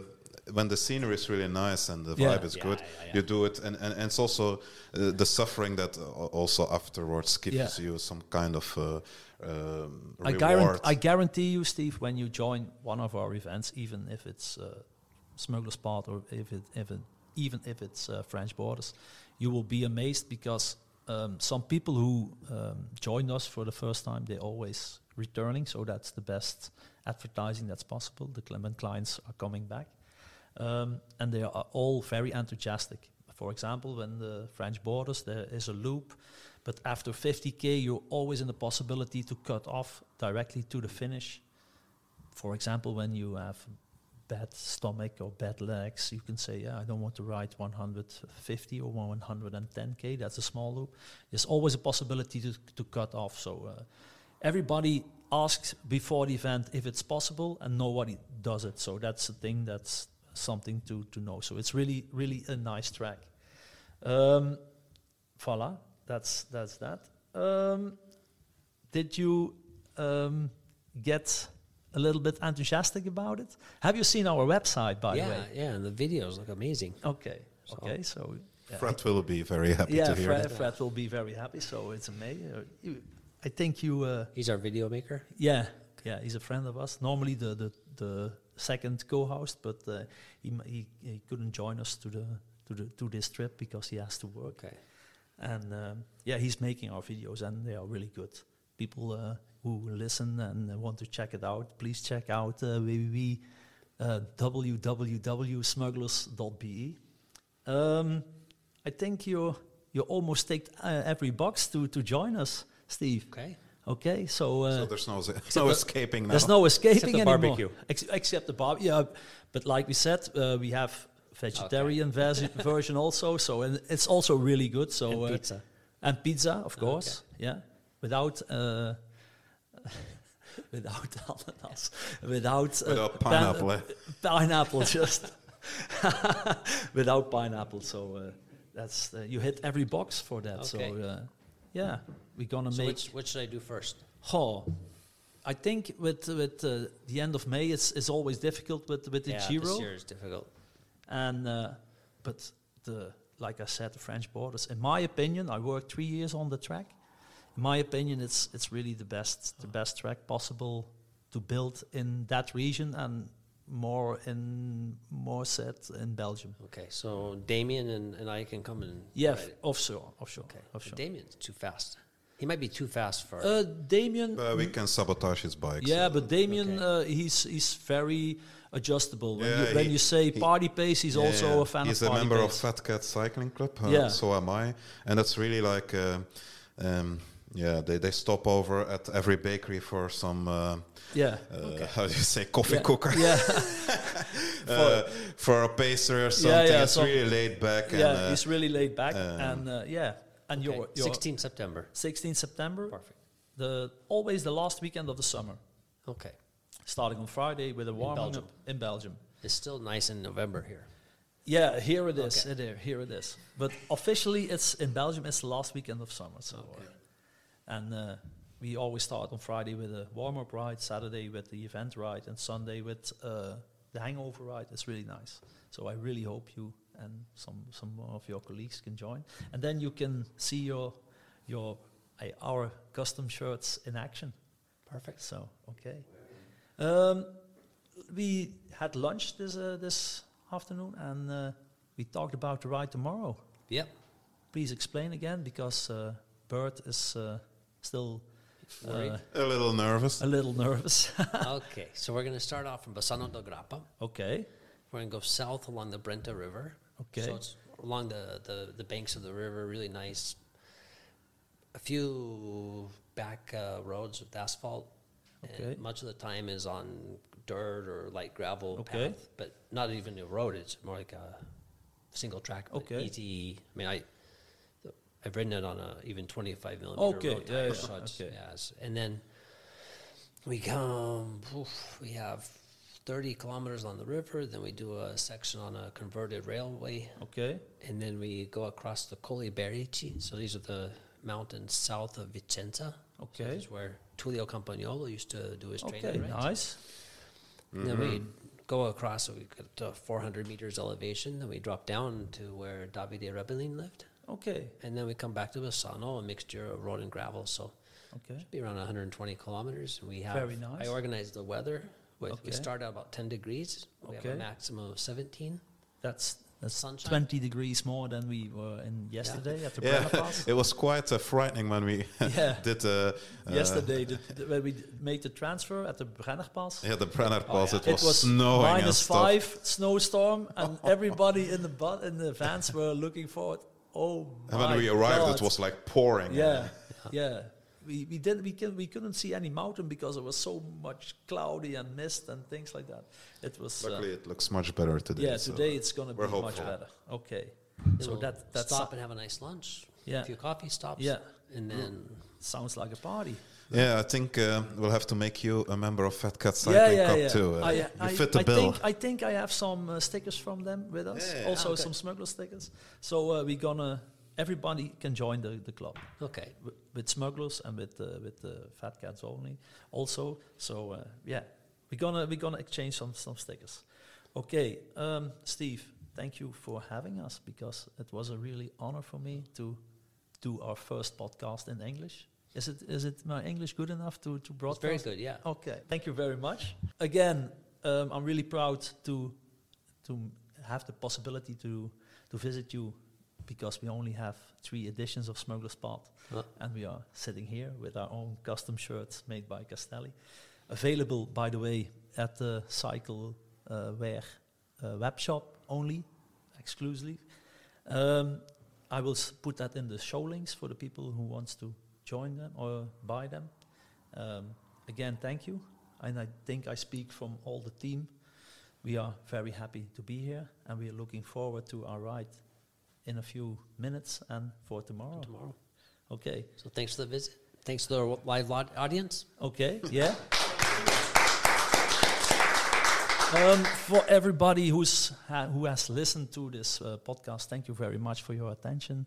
Speaker 2: when the scenery is really nice and the
Speaker 1: Yeah.
Speaker 2: vibe is
Speaker 3: Yeah,
Speaker 2: good,
Speaker 3: yeah, yeah.
Speaker 2: you do it, and, and, and it's also uh, the suffering that uh, also afterwards gives
Speaker 1: Yeah.
Speaker 2: you some kind of uh, um,
Speaker 1: I,
Speaker 2: reward.
Speaker 1: guarant- I guarantee you, Steve, when you join one of our events, even if it's uh, Smuggler's Part or if it, if it, even if it's uh, French Borders, you will be amazed because um, some people who um, joined us for the first time, they're always returning. So that's the best advertising that's possible. The Clement clients are coming back. Um, and they are all very enthusiastic. For example, when the French Borders, there is a loop but after 50k, you're always in the possibility to cut off directly to the finish. For example, when you have bad stomach or bad legs, you can say, "Yeah, I don't want to ride 150 or 110k." That's a small loop. There's always a possibility to to cut off. So uh, everybody asks before the event if it's possible, and nobody does it. So that's the thing. That's something to to know. So it's really really a nice track. Um, Voila, that's that's that. Um, did you um, get a little bit enthusiastic about it? Have you seen our website, by
Speaker 3: yeah,
Speaker 1: the way?
Speaker 3: yeah, and the videos look amazing.
Speaker 1: Okay,
Speaker 3: So-
Speaker 1: okay, so yeah.
Speaker 2: Fred will be very happy
Speaker 1: yeah,
Speaker 2: to hear
Speaker 1: Fred,
Speaker 2: that.
Speaker 1: Fred will be very happy. So it's amazing. You- I think you, uh,
Speaker 3: He's our video maker.
Speaker 1: yeah, yeah, he's a friend of us. Normally the the, the second co-host, but uh, he, m- he he couldn't join us to the to the to this trip because he has to work
Speaker 3: Okay.
Speaker 1: and um, yeah, he's making our videos, and they are really good. People uh, who listen and uh, want to check it out, please check out uh, www, uh, www.smugglers.be. Um, I think you you almost ticked uh, every box to to join us, Steve.
Speaker 3: Okay.
Speaker 1: Okay, so, uh,
Speaker 2: so there's no, there's no escaping now.
Speaker 1: there's no escaping
Speaker 4: the
Speaker 1: anymore.
Speaker 4: barbecue.
Speaker 1: Ex- except the barbecue. Yeah, but like we said, uh, we have vegetarian vers- version also. So and it's also really good. So
Speaker 4: And
Speaker 1: uh,
Speaker 4: pizza.
Speaker 1: and pizza, of
Speaker 3: Ah,
Speaker 1: course. Yeah, without. Uh, Without ananas, without, uh,
Speaker 2: Without
Speaker 1: pan-
Speaker 2: pineapple, eh?
Speaker 1: pineapple, just without pineapple. So uh, that's uh, you hit every box for that.
Speaker 3: Okay.
Speaker 1: So uh, yeah, we're gonna
Speaker 3: So
Speaker 1: make
Speaker 3: which, which should I do first?
Speaker 1: Oh, I think with with uh, the end of May, it's it's always difficult with with the
Speaker 3: yeah,
Speaker 1: Giro,
Speaker 3: this year is difficult.
Speaker 1: and uh, but the like I said, the French borders. In my opinion, I worked three years on the track. In my opinion, it's it's really the best the best track possible to build in that region and more in more set in Belgium.
Speaker 3: Okay, so Damien and, and I can come and
Speaker 1: Yeah,
Speaker 3: ride it.
Speaker 1: offshore, offshore,
Speaker 3: Okay.
Speaker 1: offshore.
Speaker 3: Damien's too fast. He might be too fast for.
Speaker 1: uh, Damien,
Speaker 2: Uh, we can sabotage his bike.
Speaker 1: Yeah,
Speaker 2: so-
Speaker 1: but Damien, uh, he's he's very adjustable. When,
Speaker 2: Yeah,
Speaker 1: you, when
Speaker 2: he-
Speaker 1: you say
Speaker 2: he-
Speaker 1: party pace, he's
Speaker 2: Yeah,
Speaker 1: also
Speaker 2: yeah.
Speaker 1: a fan
Speaker 2: He's
Speaker 1: of
Speaker 2: a
Speaker 1: party
Speaker 2: member
Speaker 1: pace.
Speaker 2: of Fat Cat Cycling Club. uh,
Speaker 1: Yeah.
Speaker 2: So am I, and that's really like, uh, um, yeah, they, they stop over at every bakery for some, uh,
Speaker 1: yeah.
Speaker 2: uh, how do you say, coffee cooker.
Speaker 1: yeah,
Speaker 2: uh, for a pastry or something.
Speaker 1: yeah,
Speaker 2: it's
Speaker 1: some-
Speaker 2: really laid back. and,
Speaker 1: yeah,
Speaker 2: uh,
Speaker 1: he's really laid back,
Speaker 2: um,
Speaker 1: and uh, yeah, and
Speaker 3: okay,
Speaker 1: you're, you're
Speaker 3: 16 September.
Speaker 1: 16 September,
Speaker 3: Perfect.
Speaker 1: the always the last weekend of the summer,
Speaker 3: Okay.
Speaker 1: starting on Friday with a warming
Speaker 3: Belgium.
Speaker 1: up in Belgium.
Speaker 3: It's still nice in November here.
Speaker 1: Yeah, here it is.
Speaker 3: Okay.
Speaker 1: uh, There, here it is. But officially, it's in Belgium. It's the last weekend of summer. So,
Speaker 3: Okay.
Speaker 1: uh, and uh, we always start on Friday with a warm-up ride, Saturday with the event ride, and Sunday with uh, the hangover ride. It's really nice. So I really hope you and some some more of your colleagues can join, and then you can see your your uh, our custom shirts in action.
Speaker 3: Perfect.
Speaker 1: So okay, um, we had lunch this uh, this afternoon, and uh, we talked about the ride tomorrow.
Speaker 3: Yep.
Speaker 1: Please explain again because uh, Bert is uh, still uh,
Speaker 3: Worried?
Speaker 2: a little nervous.
Speaker 1: a little nervous.
Speaker 3: okay, so we're going to start off from Bassano del Grappa.
Speaker 1: okay,
Speaker 3: We're going to go south along the Brenta River.
Speaker 1: Okay.
Speaker 3: So it's along the, the, the banks of the river, really nice. A few back uh, roads with asphalt.
Speaker 1: Okay.
Speaker 3: And much of the time is on dirt or light gravel
Speaker 1: Okay.
Speaker 3: path, but not even a road. It's more like a single track, but
Speaker 1: Okay.
Speaker 3: easy. I mean, I I've ridden it on a even 25 millimeter
Speaker 1: Okay,
Speaker 3: road
Speaker 1: yeah,
Speaker 3: tire,
Speaker 1: yeah,
Speaker 3: so it's,
Speaker 1: okay.
Speaker 3: yeah, it's- and then we come, oof, we have 30 kilometers on the river, then we do a section on a converted railway,
Speaker 1: okay,
Speaker 3: and then we go across the Colle Berici. So these are the mountains south of Vicenza. So
Speaker 1: Okay.
Speaker 3: this is where Tullio Campagnolo used to do his training.
Speaker 1: okay,
Speaker 3: right?
Speaker 1: nice.
Speaker 3: And Then we go across, so we get to 400 meters elevation, then we drop down to where Davide Rebellin lived.
Speaker 1: Okay,
Speaker 3: And then we come back to Bassano, a mixture of road and gravel. So
Speaker 1: okay,
Speaker 3: be around 120 kilometers. We have
Speaker 1: Very nice.
Speaker 3: I organized the weather. With,
Speaker 1: Okay.
Speaker 3: We start at about 10 degrees. We have
Speaker 1: Okay.
Speaker 3: a maximum of 17.
Speaker 1: that's. That's
Speaker 3: Sunshine.
Speaker 1: 20 degrees more than we were in yesterday at the
Speaker 2: Yeah,
Speaker 1: Brenner Pass.
Speaker 2: it was quite uh, frightening when we
Speaker 1: Yeah.
Speaker 2: did uh, uh,
Speaker 1: yesterday, the, the, when we d- made the transfer at the Brenner Pass,
Speaker 2: Yeah, the Brenner Pass. It,
Speaker 1: Oh, It
Speaker 2: was
Speaker 1: was
Speaker 2: snowing and
Speaker 1: minus
Speaker 2: stuff.
Speaker 1: five, snowstorm, and everybody in the bu- in the vans were looking forward. Oh my!
Speaker 2: And when we arrived,
Speaker 1: God.
Speaker 2: it was like pouring.
Speaker 1: yeah, yeah. We we didn't we can we couldn't see any mountain because it was so much cloudy and mist and things like that. It was uh,
Speaker 2: Luckily, it looks much better today.
Speaker 1: yeah.
Speaker 2: so-
Speaker 1: Today it's gonna be
Speaker 2: we're
Speaker 1: much
Speaker 2: hopeful.
Speaker 1: better. Okay,
Speaker 3: Then
Speaker 1: so
Speaker 3: we'll
Speaker 1: that that
Speaker 3: stop
Speaker 1: sou-
Speaker 3: and have a nice lunch.
Speaker 1: Yeah.
Speaker 3: A few coffee stops.
Speaker 1: Yeah.
Speaker 3: And then
Speaker 1: sounds like a party.
Speaker 2: Yeah, I think uh, we'll have to make you a member of Fat Cat Cycling Club too. Uh,
Speaker 1: I,
Speaker 2: you
Speaker 1: I-
Speaker 2: fit the
Speaker 1: I
Speaker 2: bill.
Speaker 1: Think, I think I have some uh, stickers from them with us.
Speaker 2: Yeah.
Speaker 1: Also
Speaker 3: Ah, okay.
Speaker 1: some smuggler stickers. So uh, we're gonna everybody can join the, the club.
Speaker 3: okay.
Speaker 1: wi- with smugglers and with uh, with the fat cats only also so uh, yeah we're gonna we're gonna exchange some some stickers okay um, steve thank you for having us because it was a really honor for me to do our first podcast in english is it is it my english good enough to to
Speaker 3: It's very
Speaker 1: broadcast
Speaker 3: good. Yeah.
Speaker 1: okay thank you very much again um, i'm really proud to to m- have the possibility to to visit you because we only have three editions of Smuggler's Path
Speaker 3: Uh,
Speaker 1: and we are sitting here with our own custom shirts made by Castelli. Available, by the way, at the Cycle uh, Wear uh, web shop only, exclusively. Um, I will s- put that in the show links for the people who wants to join them or buy them. Um, again, thank you. And I think I speak from all the team. We are very happy to be here and we are looking forward to our ride in a few minutes and for tomorrow.
Speaker 3: tomorrow.
Speaker 1: Okay.
Speaker 3: So thanks for the visit. Thanks to the live lo- audience.
Speaker 1: Okay, yeah. Um, for everybody who's ha- who has listened to this uh, podcast, thank you very much for your attention.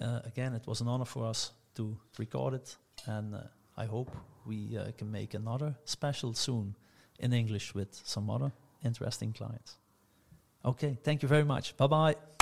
Speaker 1: Uh, again, it was an honor for us to record it, and uh, I hope we uh, can make another special soon in English with some other interesting clients. Okay, thank you very much. Bye bye.